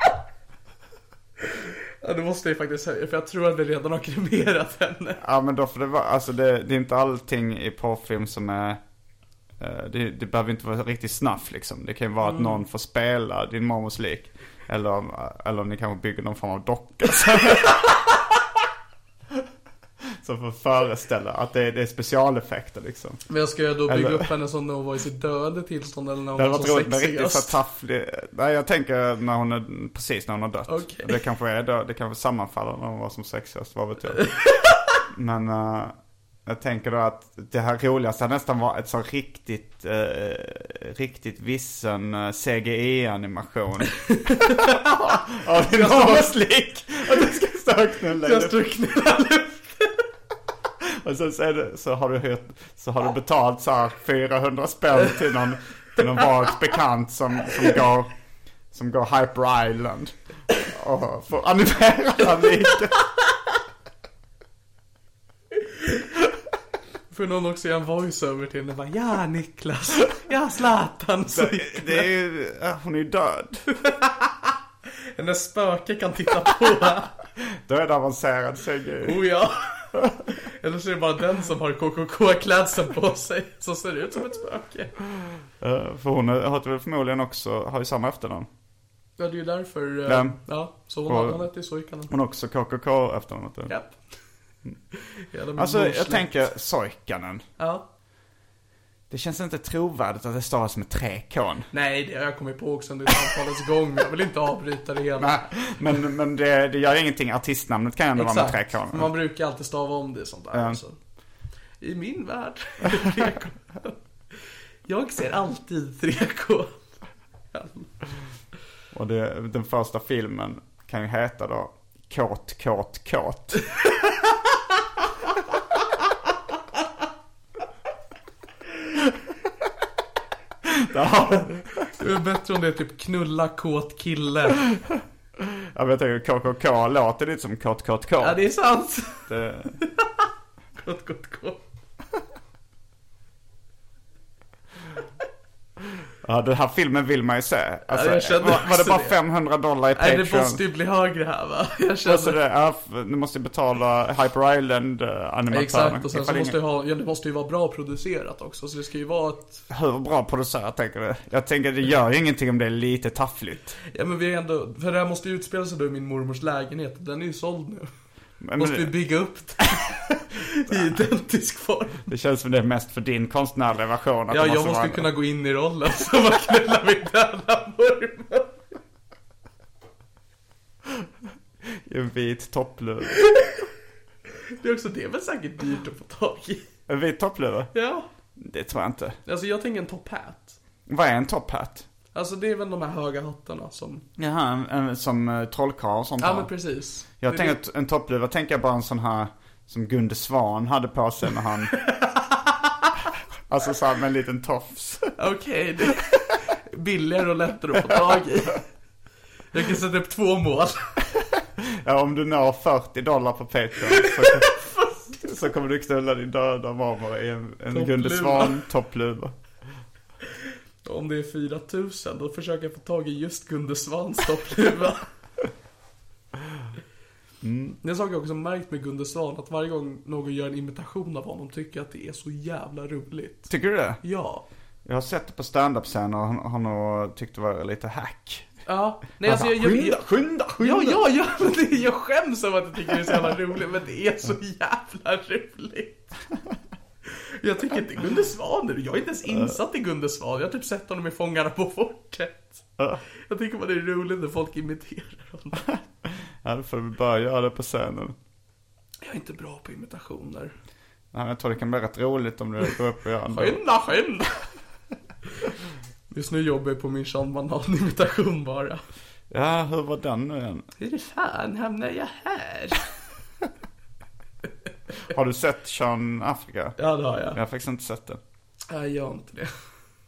Speaker 3: Ja, det måste jag ju faktiskt säga, för jag tror att vi redan har kremerat henne.
Speaker 4: Ja men då får det vara, alltså det, det är inte allting i porrfilm som är eh, det, det behöver inte vara riktigt snaff liksom. Det kan ju vara att någon får spela din mormors lik. Eller om, eller om ni kanske bygger någon form av docka. [LAUGHS] som- Som får föreställa att det, är- det är specialeffekter liksom.
Speaker 3: Men jag ska ju då bygga
Speaker 4: Eller-
Speaker 3: upp henne som när hon var i sitt döende tillstånd eller när
Speaker 4: Det
Speaker 3: hon
Speaker 4: hade
Speaker 3: var
Speaker 4: varit roligt
Speaker 3: som
Speaker 4: med riktigt så
Speaker 3: sexigast.
Speaker 4: tafflig, nej jag tänker när hon är, precis när hon har dött.
Speaker 3: Okej.
Speaker 4: Det kanske är då, det kanske sammanfaller när hon var som sexigast, vad vet jag. Men eh, jag tänker då att det här roligaste hade nästan var ett så riktigt, eh, riktigt vissen eh,
Speaker 3: [LAUGHS]
Speaker 4: CGI-animation. Av din mammas lik. Och du ska stå och knulla i
Speaker 3: Jag
Speaker 4: luft.
Speaker 3: strukturerade
Speaker 4: [LAUGHS] Och sen så, är det, så, har du hyrt, så har du betalt så här 400 spänn till någon, till någon vag bekant som, som, går, som går Hyper Island. Och får animera den lite.
Speaker 3: För någon också göra en voiceover till henne bara Ja [LAUGHS] Niklas, ja Zlatan så gick
Speaker 4: Det är ju, ja, hon är ju död.
Speaker 3: Hennes spöke kan titta på
Speaker 4: Då är det avancerad CGI.
Speaker 3: Oh ja Eller så är det bara den som har KKK-klädseln på sig Som ser ut som ett spöke
Speaker 4: Eh, För hon är- har väl förmodligen också, har ju samma efternamn.
Speaker 3: Ja det är ju därför eh,
Speaker 4: Vem?
Speaker 3: Ja, så hon
Speaker 4: Och-
Speaker 3: har hette ju Suikanen
Speaker 4: Hon har också KKK efternamnet.
Speaker 3: Japp Mm. Jävla min
Speaker 4: Alltså jag
Speaker 3: morsläkt.
Speaker 4: tänker Soikanen.
Speaker 3: Ja
Speaker 4: Det känns inte trovärdigt att det stavas med tre K'n.
Speaker 3: Nej det har jag kommit på också under samtalets gång men Jag vill inte avbryta det hela
Speaker 4: Nej, Ah, men, men det, det gör ingenting. Artistnamnet kan ju ändå vara med tre
Speaker 3: Exakt,
Speaker 4: kronor.
Speaker 3: man brukar alltid stava om det sånt där
Speaker 4: Ja.
Speaker 3: också. I min värld [LAUGHS] är det 3K. Jag ser alltid 3K.
Speaker 4: Och det, den första filmen kan ju heta då Kåt, kåt, kåt. Där har du-
Speaker 3: Det är bättre om det är typ knulla kåt kille.
Speaker 4: ja, men jag tänker KKK låter lite som kåt, kåt, kåt.
Speaker 3: Ja det är sant. [LAUGHS]
Speaker 4: Det-
Speaker 3: Kåt kåt kåt.
Speaker 4: ja, den här filmen vill man ju se. Alltså,
Speaker 3: jag känner
Speaker 4: var, var det
Speaker 3: också
Speaker 4: bara
Speaker 3: det.
Speaker 4: 500 dollar
Speaker 3: Nej
Speaker 4: i Patreon?
Speaker 3: det måste ju bli högre här va. Jag
Speaker 4: Och så
Speaker 3: känner.
Speaker 4: det, ja, f- du måste ju betala Hyper eh, Island-animatörerna.
Speaker 3: Exakt och sen så måste jag ha, ja, det måste ju vara bra producerat också så det ska ju vara ett,
Speaker 4: Hur bra producerat tänker du? Jag tänker det gör ju ingenting om det är lite taffligt.
Speaker 3: ja men vi är ändå, för det här måste ju utspela sig då i min mormors lägenhet, den är ju såld nu.
Speaker 4: Men,
Speaker 3: Måste vi
Speaker 4: men,
Speaker 3: bygga upp det [LAUGHS] i identisk form?
Speaker 4: det känns som det är mest för din konstnärliga version. Att
Speaker 3: Ja,
Speaker 4: det
Speaker 3: jag måste
Speaker 4: vara-
Speaker 3: kunna gå in i rollen [LAUGHS] som att knulla min döda mormor.
Speaker 4: En vit toppluva.
Speaker 3: Det är också det är väl säkert dyrt att få tag i.
Speaker 4: En vit toppluva?
Speaker 3: Ja,
Speaker 4: Det tror jag inte.
Speaker 3: alltså jag tänker en top hat.
Speaker 4: Vad är en top hat?
Speaker 3: Alltså det är väl de här höga hattarna som...
Speaker 4: Jaha, en, en, som eh, trollkarl och sånt
Speaker 3: Ja
Speaker 4: där.
Speaker 3: men precis.
Speaker 4: Jag
Speaker 3: Det är
Speaker 4: tänker
Speaker 3: det-
Speaker 4: att en toppluva tänker jag bara en sån här som Gunde Svan hade på sig när
Speaker 3: [LAUGHS]
Speaker 4: han... alltså så här med en liten tofs.
Speaker 3: Okej, det är billigare och lättare att få tag i. Jag kan sätta upp två mål.
Speaker 4: Ja, om du når 40 dollar på Patreon så, så kommer du knulla din döda mormor i en, en Gunde Svan toppluva.
Speaker 3: Om det är 4000 då försöker jag få tag i just Gunde Svans toppluva. Det är en sak jag också märkt med Gunde Svan, att varje gång någon gör en imitation av honom tycker jag att det är så jävla roligt.
Speaker 4: Tycker du det?
Speaker 3: Ja.
Speaker 4: Jag har sett det på standup-scener och han, han har tyckt det var lite hack.
Speaker 3: Ja. Nej alltså
Speaker 4: Han
Speaker 3: jag...
Speaker 4: sa,
Speaker 3: jag, jag,
Speaker 4: skynda, skynda, skynda!
Speaker 3: Ja, ja, ja, men det, jag skäms över att jag tycker det är så jävla roligt, men det är så jävla roligt. Jag tycker inte Gunde Svan nu, jag är inte ens insatt i Gunde Svan, jag har typ sett honom i Fångarna på fortet. Jag tycker bara det är roligt när folk imiterar [LAUGHS] honom.
Speaker 4: [LAUGHS] Ja, då får du börja göra det på scenen.
Speaker 3: Jag är inte bra på imitationer.
Speaker 4: Nej, men jag tror det kan bli rätt roligt om du går upp och gör en
Speaker 3: Skynda, skynda! Just nu jobbar jag på min Sean Banan-imitation bara.
Speaker 4: Ja, hur var den nu igen?
Speaker 3: Hur fan hamnar jag här?
Speaker 4: Har du sett Sean Africa?
Speaker 3: Ja, det har
Speaker 4: Jag
Speaker 3: jag.
Speaker 4: har faktiskt inte sett den.
Speaker 3: Nej, jag har inte det.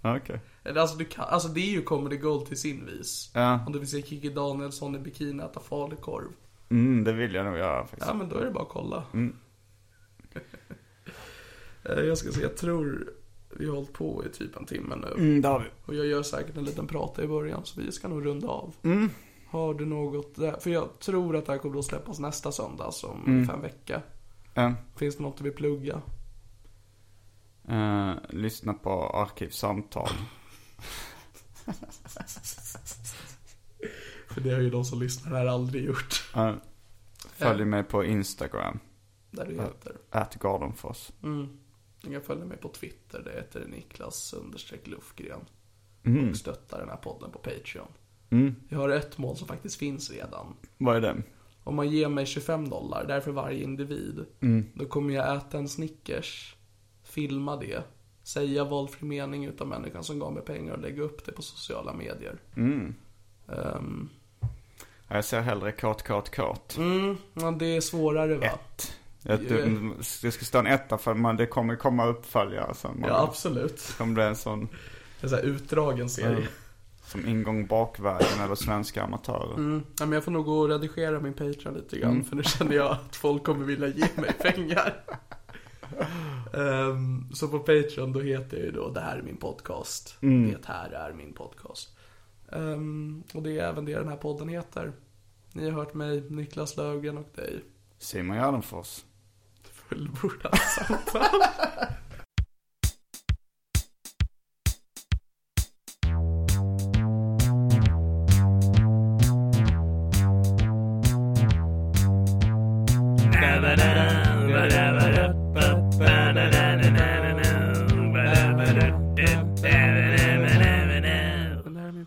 Speaker 4: Ja, Okej.
Speaker 3: Eller, Alltså, du kan, alltså det är ju Comedy Gold till sin vis.
Speaker 4: Ja.
Speaker 3: Om du vill se Kikki Danielsson i bikini äta falukorv.
Speaker 4: Mm, det vill jag nog göra faktiskt.
Speaker 3: Ja men då är det bara att kolla.
Speaker 4: Mm.
Speaker 3: [LAUGHS] Eh, jag ska se, jag tror vi har hållit på i typ en timme nu.
Speaker 4: Mm, det har vi.
Speaker 3: Och jag gör säkert en liten prata i början så vi ska nog runda av. Mm. Har du något där? För jag tror att det här kommer att släppas nästa söndag, alltså om
Speaker 4: Mm.
Speaker 3: ungefär en vecka.
Speaker 4: Ja.
Speaker 3: Finns det något du vill plugga?
Speaker 4: Eh, lyssna på Arkivsamtal.
Speaker 3: För det har ju de som lyssnar här aldrig gjort.
Speaker 4: Eh, följ mig på Instagram.
Speaker 3: Där du heter.
Speaker 4: At Gardenfors.
Speaker 3: Ni kan följa mig på Twitter, det heter Niklas understreck Lufgren. Och stötta den här podden på Patreon. Jag har ett mål som faktiskt finns redan.
Speaker 4: Vad är det?
Speaker 3: Om man ger mig 25 dollar, därför varje individ, då kommer jag äta en Snickers, filma det, säga valfri mening utav människan som gav mig pengar och lägga upp det på sociala medier. Ehm,
Speaker 4: Ja, Jag ser hellre kåt, kåt, kåt.
Speaker 3: mm, men det är svårare va?
Speaker 4: Ett. Jag, du, det ska stå en etta för man, det kommer komma uppföljare sen.
Speaker 3: Ja, absolut.
Speaker 4: Det kommer bli en sån eh,
Speaker 3: Det är så här utdragen serie.
Speaker 4: som ingång bakvägen eller svenska amatörer.
Speaker 3: Mm, Ja, men jag får nog gå och redigera min Patreon lite grann för nu känner jag att folk kommer vilja ge mig pengar. Ehm, så på Patreon då heter jag ju då Det här är min podcast. Det här är min podcast. Ehm, och det är även det den här podden heter. Ni har hört mig, Niklas Löfgren och dig.
Speaker 4: Simon Gärdenfors.
Speaker 3: Fullbordat [LAUGHS] samtal. Den här är min